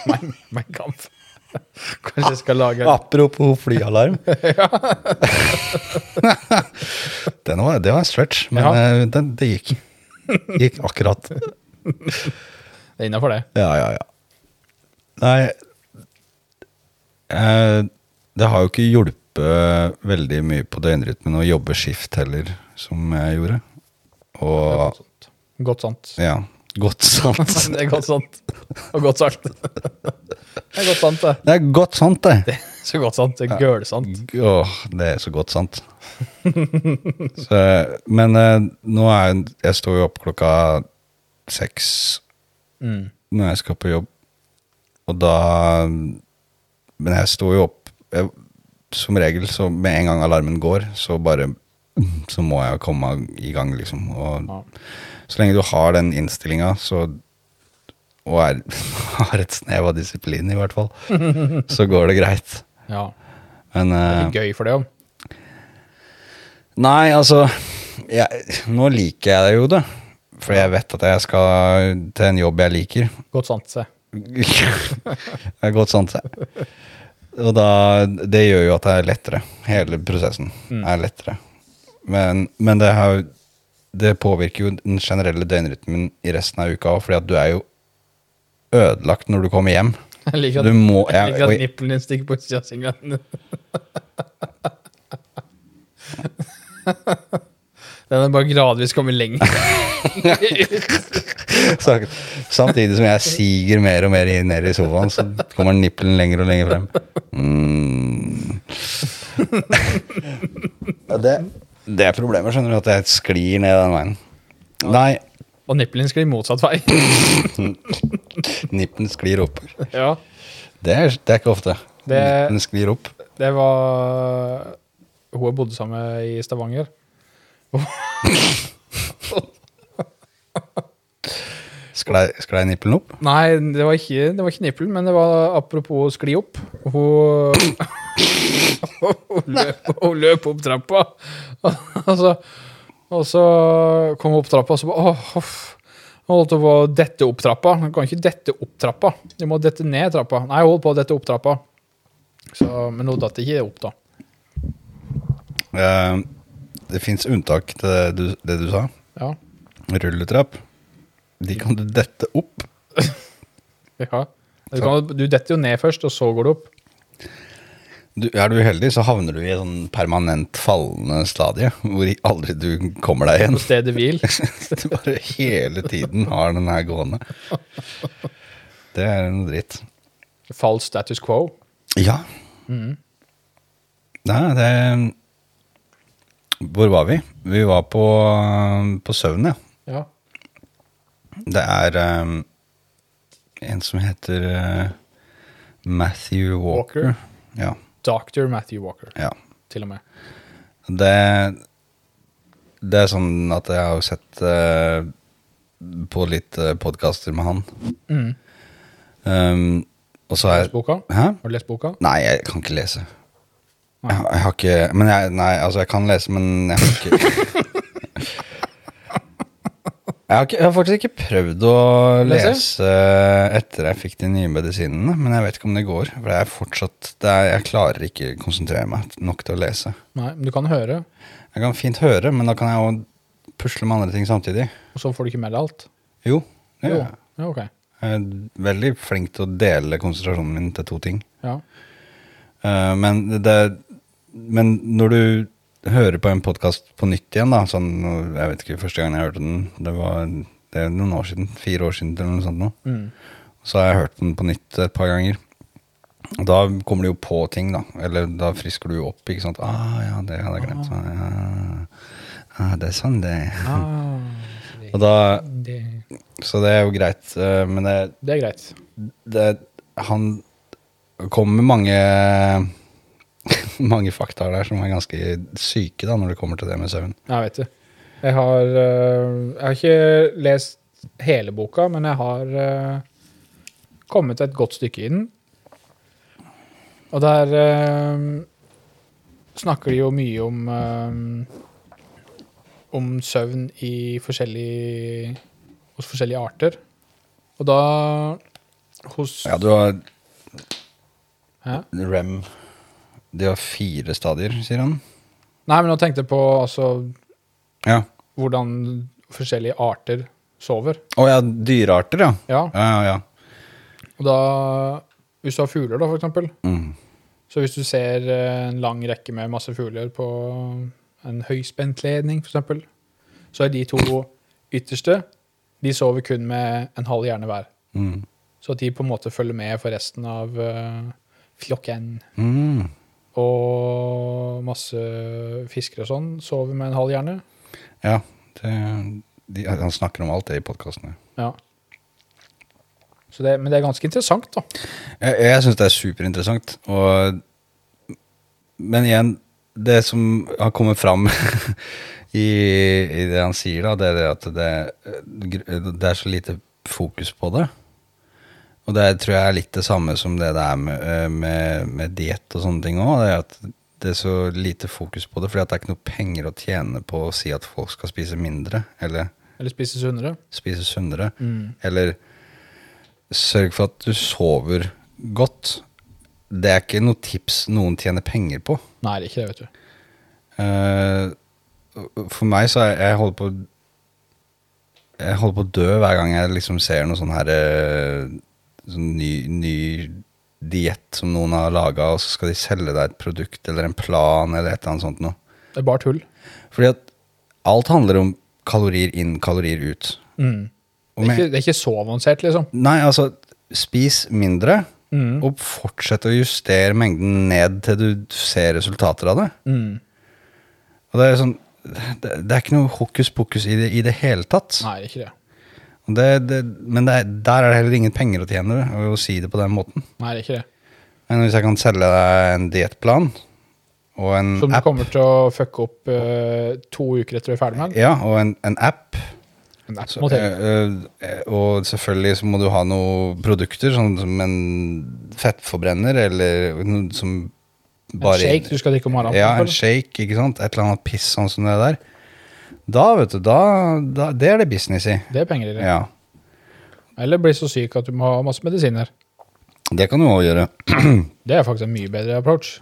Mein, mein kamp. Kanskje jeg skal lage
Apropos flyalarm. den var, det var en stretch, men
Ja.
eh, den, det gikk. Gikk akkurat.
Det er innafor, det.
Ja, ja, ja. Nei eh, Det har jo ikke hjulpet veldig mye på døgnrytmen å jobbe skift heller, som jeg gjorde.
Det er
Og
godt sant. Godt sant.
ja, godt sant.
Det er godt sant. Og godt salt. Det er godt sant, det.
Det er godt sant, det.
Så godt sant. Det er gølsant.
Åh, det er så godt sant. Så, men eh, nå er jeg, jeg står jo opp klokka seks
Mm.
når jeg skal på jobb, og da Men jeg står jo opp jeg, Som regel, så med en gang alarmen går, så bare Så må jeg komme i gang, liksom. Og
Ja.
så lenge du har den innstillinga, så og er, har et snev av disiplin, i hvert fall, så går det greit.
ja.
Men
Det
eh,
er gøy for det, jo.
Nei, altså jeg, Nå liker jeg det jo, da. For jeg vet at jeg skal til en jobb jeg liker.
Godt sant, se.
det er godt sant, det. Og da, det gjør jo at det er lettere. Hele prosessen
Mm.
er lettere. Men, men det, har, jo- det påvirker jo den generelle døgnrytmen i resten av uka òg, fordi at du er jo ødelagt når du kommer hjem.
Jeg liker
Du
at,
må
jeg
jeg,
liker
og,
at nippelen din stikker på utsida av singelen. Den er bare gradvis kommet lenger.
Sagt. Samtidig som jeg siger mer og mer ned i sofaen, så kommer nippelen lenger og lenger frem. Mm. Ja, det, det er problemet, skjønner du, at jeg sklir ned den veien. Nei,
Og nippelen sklir motsatt vei.
nippelen sklir oppover.
ja,
Det er, det er ikke ofte.
Det-
Nippelen sklir opp.
det var Hun jeg bodde sammen med i Stavanger.
Sklei, sklei nippelen opp?
Nei, det var ikke, det var ikke nippelen, men det var apropos skli opp. Hun Hun løp, hun løp opp trappa, og så, og så kom hun opp trappa, og så bare åh, huff. Hun holdt på å dette opp trappa. Du kan ikke dette opp trappa. Du må dette ned trappa. Nei, hun holdt på å dette opp trappa. Så, men hun datt ikke opp, da.
Eh, Det fins unntak til det du, det du sa.
Ja.
Rulletrapp. De kan du dette opp.
ja. Du, kan, du detter jo ned først, og så går du opp.
du, er du uheldig, så havner du i et sånn permanent fallende stadie hvor aldri du kommer deg igjen.
På stedet hvil.
Du bare hele tiden har den her gående. Det er noe dritt.
Fall status quo. Mm,
Ja. Nei, det Hvor var vi? Vi var på, på søvn, ja.
Ja.
Det er um, en som heter uh, Matthew Walker.
Walker.
Ja,
Dr. Matthew Walker,
ja.
til og med.
Det, det er sånn at jeg har jo sett eh, på litt uh, podkaster med han.
Mm.
Um, og så har
Har du lest
jeg
boka?
Hæ?
Har du lest boka?
Nei, jeg kan ikke lese.
Nei.
Jeg, har- jeg har ikke Men jeg, nei, altså, jeg kan lese, men jeg har ikke Jeg har, ikke, jeg har faktisk ikke prøvd å lese?
Lese?
etter jeg fikk de nye medisinene, men jeg vet ikke om det går. For jeg, er fortsatt, det er, jeg klarer ikke konsentrere meg nok til å lese.
Nei, men du kan høre,
Jeg kan fint høre, men da kan jeg jo pusle med andre ting samtidig.
og så får du ikke med deg alt.
Jo, det gjør
Jo.
jeg.
Ja, ok.
Jeg er veldig flink til å dele konsentrasjonen min til to ting.
Ja.
Eh, men, det, men når du hører på en podkast på nytt igjen, da sånn, Jeg vet ikke, første gang jeg hørte den, det var det er noen år siden. Fire år siden eller noe sånt. nå.
Mm.
Så har jeg hørt den på nytt et par ganger. Og Da kommer du jo på ting, da. Eller da frisker du jo opp. ikke sant? Ah, ja, det hadde jeg glemt. Ah, ja. ah, det er sånn, det. Og da,
Ah, det,
så det er jo greit. eh, Men det,
det er greit.
det Han kommer med mange mange fakta der som er ganske syke da når det kommer til det med søvn.
Jeg vet det. Jeg har, øh, jeg har ikke lest hele boka, men jeg har øh, kommet et godt stykke i den. Og der øh, snakker de jo mye om øh, om søvn i forskjellige hos forskjellige arter. Og da hos
Ja, du har
Hæ?
REM De har fire stadier, sier han.
Nei, men nå tenkte jeg på altså,
Ja.
hvordan forskjellige arter sover.
Å ja, dyrearter, ja.
Ja,
Ja, ja, ja.
og da Hvis du har fugler, da, for eksempel.
Mm.
Så hvis du ser eh, en lang rekke med masse fugler på en høyspentledning f.eks., så er de to ytterste De sover kun med en halv hjerne hver.
Mm.
Så at de på en måte følger med for resten av eh, flokken.
Mm.
Og masse fiskere og sånn sover med en halv hjerne.
Ja, det, de, han snakker om alt det i podkastene.
Ja. Så det, men det er ganske interessant, da.
Jeg, jeg syns det er superinteressant. Og, men igjen, det som har kommet fram i, i det han sier, da, det er det at det, gr- det er så lite fokus på det. Og det tror jeg er litt det samme som det det er med, eh, med, med diett og sånne ting òg. Det er at det er så lite fokus på det, fordi at det er ikke noe penger å tjene på å si at folk skal spise mindre, eller
Eller spise sunnere.
spise sunnere. Eller sørg for at du sover godt. Det er ikke noe tips noen tjener penger på.
Nei, det er ikke det, vet du.
Eh, for meg så er jeg holder på Jeg holder på å dø hver gang jeg liksom ser noe sånn her eh, sånn ny, ny diett som noen har laga, og så skal de selge deg et produkt eller en plan eller et eller annet sånt noe.
Det er bare tull.
Fordi at alt handler om kalorier inn, kalorier ut.
Mm.
Og
Det, er
med-
ikke, det er ikke så avansert, liksom.
Nei, altså, spis mindre,
Mm.
og fortsett å justere mengden ned til du ser resultater av det.
Mm.
Og det er sånn det, det er ikke noe hokus pokus i det i det hele tatt.
Nei, det er ikke det.
Og Det, det, men det, er- der er det heller ingen penger å tjene ved å si det på den måten.
Nei, det er ikke det.
Men hvis jeg kan selge deg en diettplan og en
Som du
Mm, app,
kommer til å fucke opp eh, to uker etter du er ferdig med den.
ja, og, en, en app
En app
så,
må til.
eh, eh, og selvfølgelig så må du ha noen produkter, sånn som en fettforbrenner eller noe som
En shake du skal drikke om morgenen.
Ja,
for
en
eksempel.
shake, ikke sant? Et eller annet piss sånn som det der. Da, vet du, da, da Det er det business i.
det er penger i det.
Ja.
Eller bli så syk at du må ha masse medisiner.
Det kan du òg gjøre.
Det er faktisk en mye bedre approach.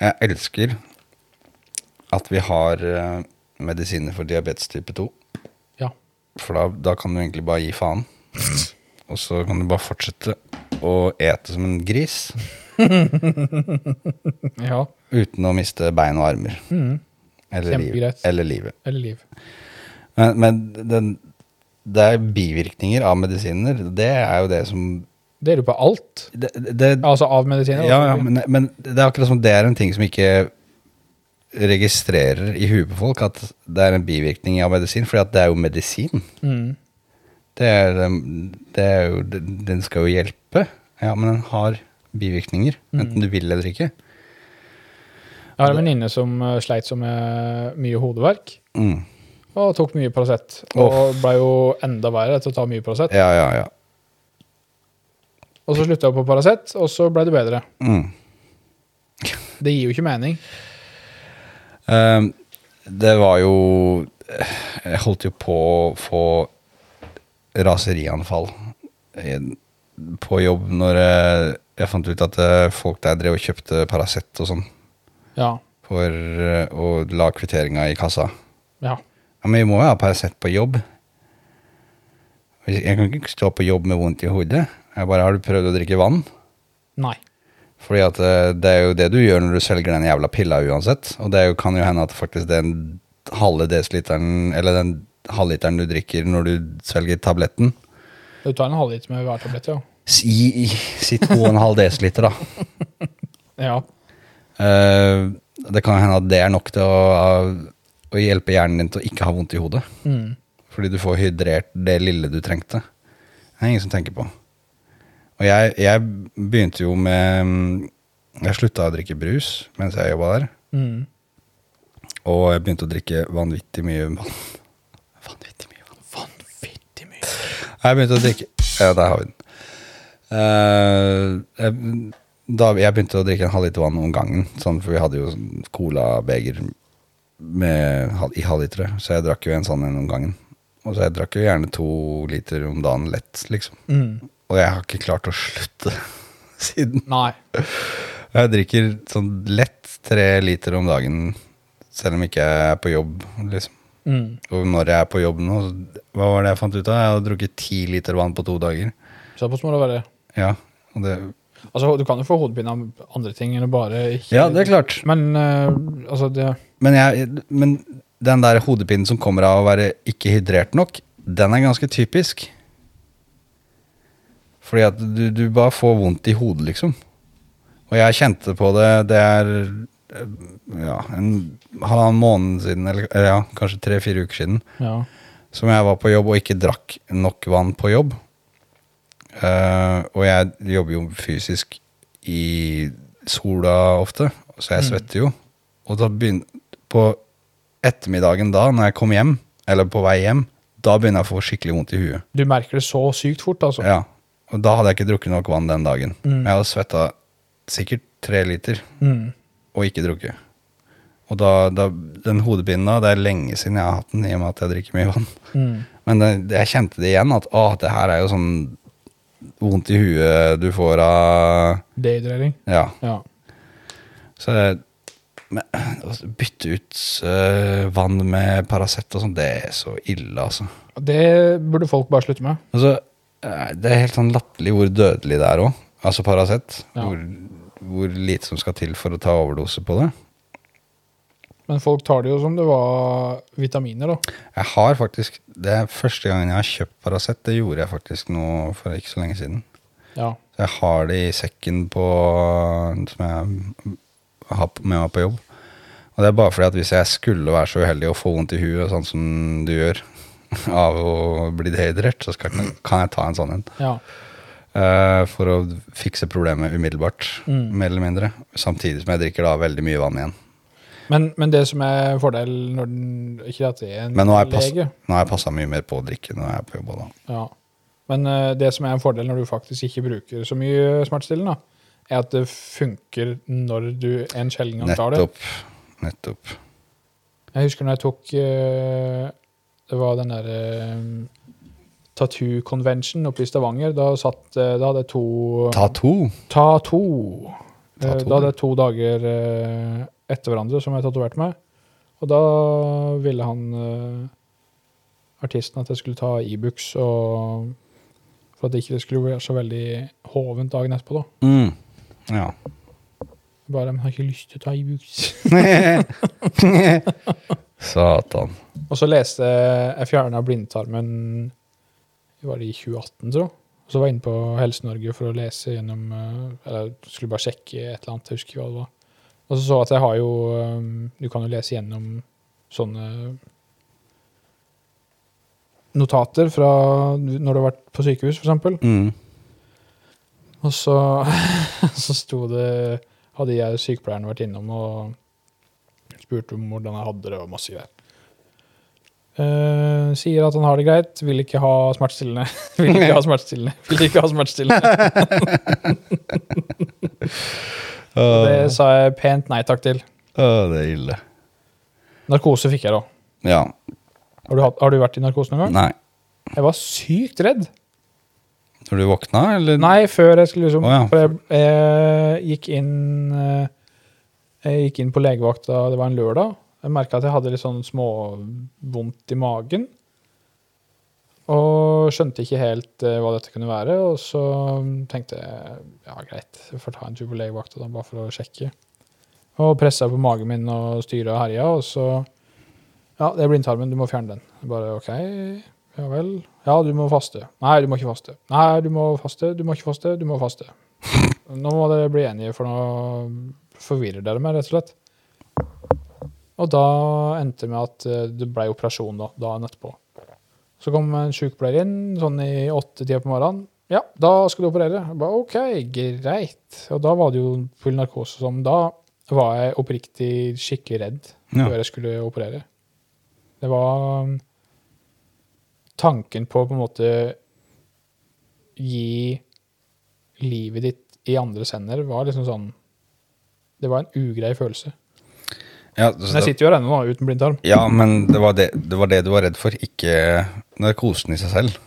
Jeg elsker at vi har eh, medisiner for diabetes type 2.
Ja.
For da, da kan du egentlig bare gi faen. Og så kan du bare fortsette å ete som en gris
ja.
uten å miste bein og armer.
Mm.
Eller, liv,
Kjempegreit.
eller livet.
Eller liv.
Men, men den, det er bivirkninger av medisiner. Det er jo det som
Det er jo på alt.
Det, det,
Altså av medisiner.
Ja, ja
altså.
men, men det er akkurat som det er en ting som ikke registrerer i huet på folk, at det er en bivirkning av medisin, fordi at det er jo medisin.
Mm.
Det er, um, det er jo, den den skal jo hjelpe, ja, men den har bivirkninger, enten du vil eller ikke.
Jeg har en venninne som eh, sleit som med mye hodeverk,
Mm.
og tok mye Paracet. Og ble jo enda verre etter å ta mye Paracet.
Ja, ja, ja.
Og så slutta hun på Paracet, og så ble det bedre.
Mm.
Det gir jo ikke mening.
Um, det var jo Jeg holdt jo på å få raserianfall i- på jobb når eh, jeg fant ut at eh, folk der drev og kjøpte Paracet og sånn
Ja.
for eh, å la kvitteringa i kassa.
ja.
Ja, Men vi må jo ha Paracet på jobb. Hvis- Jeg kan ikke stå på jobb med vondt i hodet. Jeg bare Har du prøvd å drikke vann?
Nei.
Fordi at eh, det er jo det du gjør når du selger den jævla pilla uansett. Og det er jo, kan jo hende at faktisk den halve desiliteren, eller den halvliteren du drikker når du selger tabletten
Du tar en halvliter med hver tablett, ja.
Si, si 2,5 desiliter, da.
ja.
Eh, det kan hende at det er nok til å, å hjelpe hjernen din til å ikke ha vondt i hodet.
Mm.
Fordi du får hydrert det lille du trengte. Det er ingen som tenker på. Og jeg, jeg begynte jo med mm, Jeg slutta å drikke brus mens jeg jobba der.
Mm.
Og jeg begynte å drikke vanvittig mye vann. Vanvittig mye vann.
Vanvittig mye.
Jeg begynte å drikke Ja, der har vi den. Eh, jeg, da, jeg begynte å drikke en halvliter vann om gangen, sånn, for vi hadde jo sånn colabeger med hal- i halvlitere, så jeg drakk jo en sånn en om gangen. Og så jeg drakk jo gjerne to liter om dagen lett, liksom.
Mm.
Og jeg har ikke klart å slutte siden.
Nei.
Jeg drikker sånn lett tre liter om dagen, selv om ikke jeg er på jobb, liksom.
Mm.
Og når jeg er på jobb nå, så- hva var det jeg fant ut av? Jeg hadde drukket ti liter vann på to dager.
Såpass må det være.
Ja, og det,
Altså, du kan jo få hodepine av andre ting enn å bare ikke
ja, det er klart.
Men eh, altså, det
Men, jeg, men den der hodepinen som kommer av å være ikke hydrert nok, den er ganske typisk. Fordi at du, du bare får vondt i hodet, liksom. Og jeg kjente på det Det er eh, ja, en halvannen måned siden, eller eller ja, kanskje tre-fire uker siden,
Ja.
som jeg var på jobb og ikke drakk nok vann på jobb. Eh, og jeg jobber jo fysisk i sola ofte, så jeg
Mm.
svetter jo. Og da begyn- på ettermiddagen da, når jeg kom hjem, eller på vei hjem, da begynner jeg å få skikkelig vondt i huet.
Du merker det så sykt fort, altså.
Ja. Og da hadde jeg ikke drukket nok vann den dagen.
Mm.
Jeg hadde svetta sikkert tre liter
Mm.
og ikke drukket. Og da, da, den hodepinen da, det er lenge siden jeg har hatt den, i og med at jeg drikker mye vann.
Mm.
Men det, det, jeg kjente det igjen, at å, det her er jo sånn vondt i huet du får av
Dehydrering.
Ja.
Ja.
Så det- men, å bytte ut eh, vann med Paracet og sånn, det er så ille, altså.
Det burde folk bare slutte med.
altså eh, det er helt sånn latterlig hvor dødelig det er òg. Altså Paracet.
Ja.
Hvor, hvor lite som skal til for å ta overdose på det.
Men folk tar det jo som det var vitaminer, da.
Jeg har faktisk Det er første gangen jeg har kjøpt Paracet. Det gjorde jeg faktisk nå for ikke så lenge siden.
Ja.
Så jeg har det i sekken på som jeg har på- med meg på jobb. Og det er bare fordi at hvis jeg skulle være så uheldig å få vondt i huet, sånn som du gjør, av å bli dehydrert, så skal, kan jeg ta en sånn en.
ja.
eh, for å fikse problemet umiddelbart,
Mm.
mer eller mindre. Samtidig som jeg drikker da veldig mye vann igjen.
Men, men det som er fordelen når den Ikke at det er en
Men nå har jeg pass-
lege.
Nå har jeg passa mye mer på å drikke når jeg er på jobb. også Da.
Ja. Men eh, det som er en fordel når du faktisk ikke bruker så mye smertestillende, da, er at det funker når du en sjelden gang tar det.
Nettopp. Nettopp.
Jeg husker når jeg tok eh, Det var den derre Tattoo Convention oppe i Stavanger. Da, satt, eh, da hadde jeg to
Ta to.
Ta to. Eh,
Ta to,
Da hadde jeg to dager eh, etter hverandre som jeg tatoverte meg. Og da ville han eh, artisten at jeg skulle ta Ibux, og for at det ikke skulle bli så veldig hovent dagen etterpå. da.
Mm. Ja.
Jeg Bare, men jeg har ikke lyst til å ta Ibux.
Satan.
og så leste jeg Jeg fjerna blindtarmen var det i 2018, tror jeg. Og så var jeg inne på Helse Norge for å lese gjennom eh, Eller skulle bare sjekke et eller annet. Jeg husker ikke hva det var. Og så så jeg at jeg har jo eh, Du kan jo lese gjennom sånne notater fra når du har vært på sykehus, f.eks.
Mm.
Og så, så sto det Hadde jeg og sykepleieren vært innom og spurt om hvordan jeg hadde det, og masse greier. Eh, sier at han har det greit, vil ikke ha smertestillende. Vil ikke ha smertestillende. Vil ikke ha smertestillende. Og Det sa jeg pent nei takk til.
Åh, det er ille.
Narkose fikk jeg, da.
Ja.
Har du, hatt- har du vært i narkose noen gang?
Nei.
Jeg var sykt redd.
Når du våkna, eller?
Nei, før jeg skulle liksom
Å, ja.
For jeg, jeg gikk inn eh, Jeg gikk inn på legevakta, det var en lørdag. Jeg merka at jeg hadde litt sånn småvondt i magen. Og skjønte ikke helt eh, hva dette kunne være. Og så tenkte jeg ja, greit, jeg får ta en tur på legevakta da, bare for å sjekke. Og pressa på magen min og styra og herja, og så Ja, det er blindtarmen, du må fjerne den. Jeg Bare OK, ja vel. Ja, du må faste. Nei, du må ikke faste. Nei, du må faste, du må ikke faste, du må faste. Nå må dere bli enige, for nå forvirrer dere meg, rett og slett. Og da endte det med at eh, det ble operasjon da, dagen etterpå. Så kom en sykepleier inn sånn i åtte-tida på morgenen. Ja, da skal du operere. Jeg ba, ok, greit. Og da var det jo full narkose som da var jeg oppriktig skikkelig redd
Ja.
før jeg skulle operere. Det var um, tanken på å på en måte gi livet ditt i andres hender var liksom sånn Det var en ugrei følelse.
Ja, så
Men jeg
Altså, det,
sitter jo her ennå, da, uten blindtarm.
ja, men det var det, det var det du var redd for, ikke narkosen i seg selv.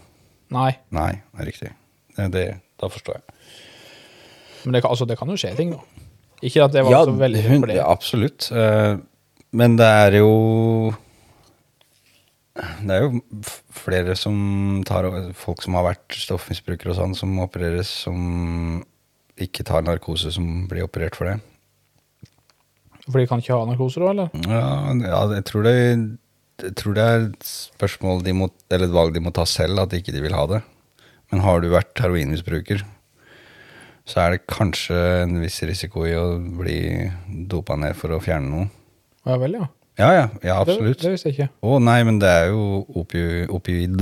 Nei.
Nei, det er riktig. Det, det, da forstår jeg.
Men det kan, altså, det kan jo skje ting, da. Ikke at det var så veldig
hun-
for det.
ja, absolutt. Eh, men det er jo Det er jo f- flere som tar Folk som har vært stoffmisbrukere og sånn, som opereres, som ikke tar narkose, som blir operert for det.
For de kan ikke ha narkoser òg, eller?
Ja, ja jeg, tror det, jeg tror det er et spørsmål de må, eller et valg de må ta selv, at ikke de vil ha det. Men har du vært heroinmisbruker, så er det kanskje en viss risiko i å bli dopa ned for å fjerne noe.
Ja vel, ja.
Ja, ja, ja
Det,
absolutt.
det visste jeg ikke.
Å nei, men det er jo opi, opioid,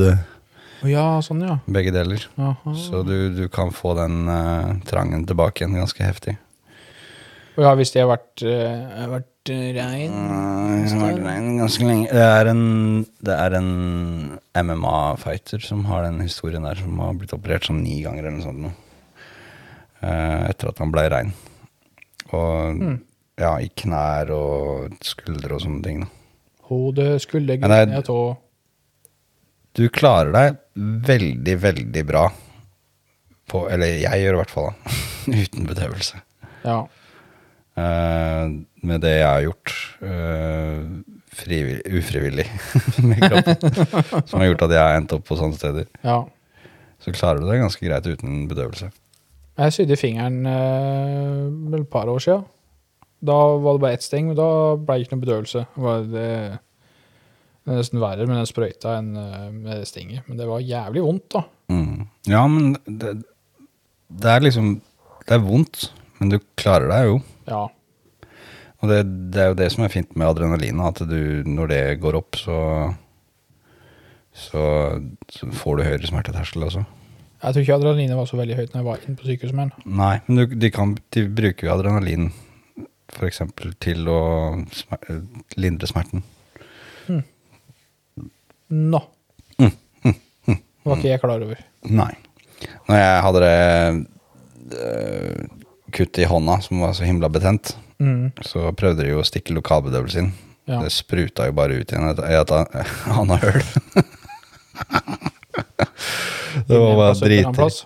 Å ja, sånn, ja.
begge deler.
Aha.
Så du, du kan få den eh, trangen tilbake igjen ganske heftig.
Og ja, hvis de har vært, eh, vært eh, rein
Nei, jeg har vært rein ganske lenge. Det er en, det er en MMA-fighter som har den historien der, som har blitt operert sånn ni ganger eller noe sånt. nå. Eh, etter at han ble rein. Og ja, i knær og skuldre og sånne ting. Da.
Hode, skulder,
Ja, det er-
grein, tå
Du klarer deg veldig, veldig bra på Eller jeg gjør i hvert fall, da. Uten bedøvelse.
Ja.
Eh, med det jeg har gjort eh, frivill- ufrivillig med kroppen, som har gjort at jeg har endt opp på sånne steder,
ja.
så klarer du det ganske greit uten bedøvelse.
Jeg sydde fingeren eh, vel et par år siden. Da var det bare ett sting, men da ble det ikke noe bedøvelse. Det var det, det er nesten verre med den sprøyta enn eh, med det stinget. Men det var jævlig vondt, da.
Mm. Ja, men det, det er liksom Det er vondt, men du klarer deg jo.
Ja.
Og det, det er jo det som er fint med adrenalinet, at du, når det går opp, så så, så får du høyere smerteterskel også.
Jeg tror ikke adrenalinet var så veldig høyt når jeg var inne på sykehuset med den.
Nei, men du, de, kan, de bruker jo adrenalin for eksempel til å smer lindre smerten.
Nå.
Mm.
Det var ikke jeg klar over.
Nei. Når jeg hadde det øh, kutt i hånda, som var så himla betent,
Mm.
så prøvde de jo å stikke lokalbedøvelsen inn.
Ja.
Det spruta jo bare ut igjen et, i et an- annet høl. det var bare
Passer på en annen
dritig.
plass.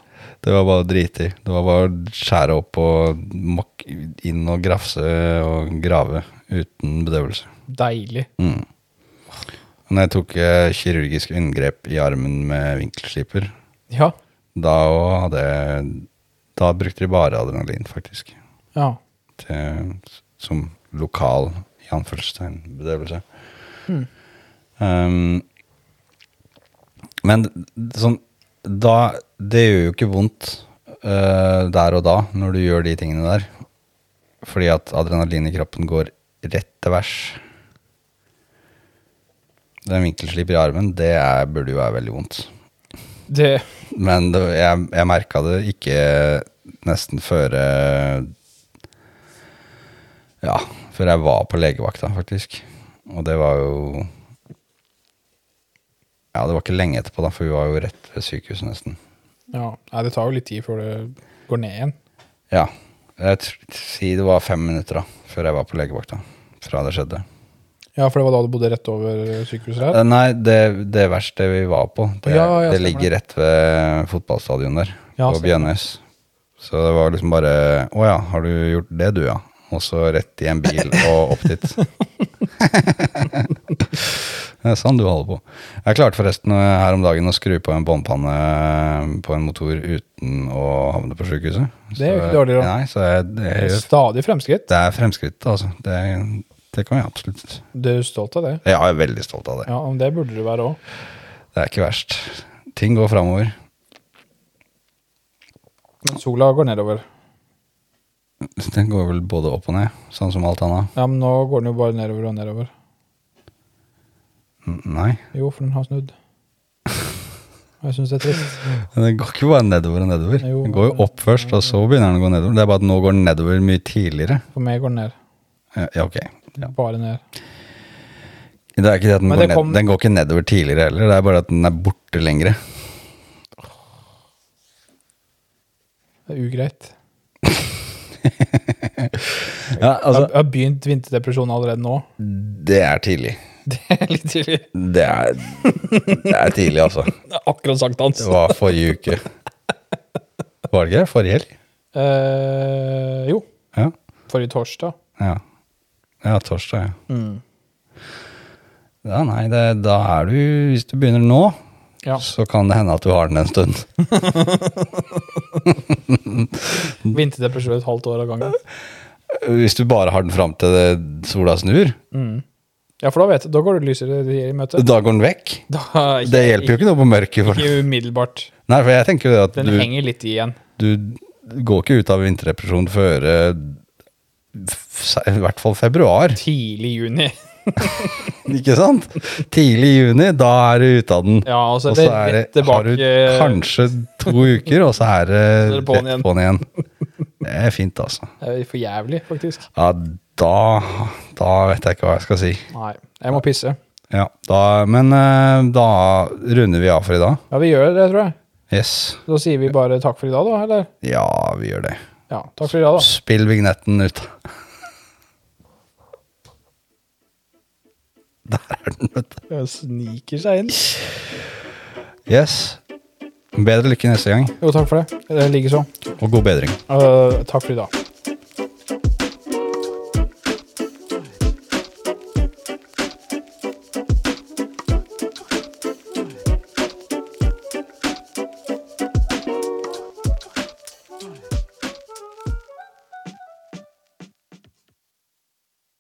Det var bare dritig. Det var bare å skjære opp og mokk inn og grafse og grave uten bedøvelse.
Deilig.
Mm. Når jeg tok eh, kirurgisk inngrep i armen med vinkelsliper,
Ja.
da òg hadde jeg Da brukte de bare adrenalin, faktisk.
Ja.
Til, som lokal i anførselstegn bedøvelse.
Mm.
Um, men sånn da, Det gjør jo ikke vondt eh, der og da, når du gjør de tingene der. Fordi at adrenalin i kroppen går rett til værs. Den vinkelsliper i armen, det er, burde jo være veldig vondt.
Det
Men det, jeg, jeg merka det ikke nesten før eh, Ja, før jeg var på legevakta, faktisk. Og det var jo Ja, det var ikke lenge etterpå, da, for vi var jo rett ved sykehuset, nesten.
Ja. Nei, det tar jo litt tid før det går ned igjen.
Ja. Jeg tr- si det var fem minutter da, før jeg var på legevakta. Fra det skjedde.
Ja, for det var da du bodde rett over sykehuset der?
Eh, Nei, det, det verste vi var på, det,
Ja, ja,
det
stemmer
ligger rett ved fotballstadionet der.
Ja,
på
stemmer.
Bjønnes. Så det var liksom bare Å ja, har du gjort det, du, ja? Og så rett i en bil og opp dit. det er sånn du holder på. Jeg klarte forresten eh, her om dagen å skru på en båndpanne eh, på en motor uten å havne på sjukehuset.
Det er jo ikke dårlig, da.
Nei, så jeg,
Det er
jeg,
Stadig fremskritt.
det er fremskrittet, altså. Det, det kan jeg absolutt
Du er stolt av det?
Jeg er veldig stolt av det.
Ja, men det burde du være òg.
Det er ikke verst. Ting går framover.
Men sola går nedover.
Den går vel både opp og ned, sånn som alt annet.
Ja, men nå går den jo bare nedover og nedover.
N- Nei.
Jo, for den har snudd. Og Jeg syns det er trist.
Men Den går ikke bare nedover og nedover.
Jo.
Den går jo opp først, og så begynner den å gå nedover. Det er bare at nå går den nedover mye tidligere.
For meg går den ned.
Ja, ja, ok. Ja.
Bare ned.
Det er ikke det at den,
Men
går,
det kom-
ned, den går ikke nedover tidligere heller, det er bare at den er borte lengre.
Det er ugreit.
Ja, altså,
Jeg jeg har begynt vinterdepresjon allerede nå.
det er tidlig.
Det er litt tidlig.
Det er, det er tidlig, altså.
Det er akkurat sankthans.
Det var forrige uke. Var det ikke det? Forrige helg?
Eh, jo,
Ja.
forrige torsdag. Mm.
Ja, ja torsdag, ja. Ja, nei, det, da er du Hvis du begynner nå,
Ja.
så kan det hende at du har den en stund.
Vinterdepresjon et halvt år av gangen.
Hvis du bare har den fram til det, sola snur,
Mm. Ja, for da vet du, da går du lysere i møte.
da går den vekk.
Da,
Det hjelper jo ikke noe på mørket. For.
Ikke umiddelbart.
Nei, for jeg tenker jo det at
Den
du,
henger litt igjen.
du går ikke ut av vinterdepresjon før eh, f- i hvert fall februar,
Tidlig juni.
ikke sant? Tidlig i juni, da er du ute av den.
Ja, og så
Og
er det
så er det,
rett tilbake eh,
har du kanskje to uker, og så er det
Så er det på'n
rett på'n igjen. Det er fint, altså.
Det er for jævlig, faktisk.
Ja, da, da vet jeg ikke hva jeg skal si.
Nei, jeg må pisse.
Ja, da, men eh, da runder vi av for i dag.
Ja, vi gjør det, tror jeg.
Yes.
Da sier vi bare takk for i dag, da, eller?
Ja, vi gjør det.
Ja, takk for i dag, da.
Spill vignetten ut. Der er den, vet du.
Jeg sniker seg inn.
Yes. Bedre lykke neste gang,
Jo, takk for det. Det ligger så.
og god bedring.
Eh, takk for i dag.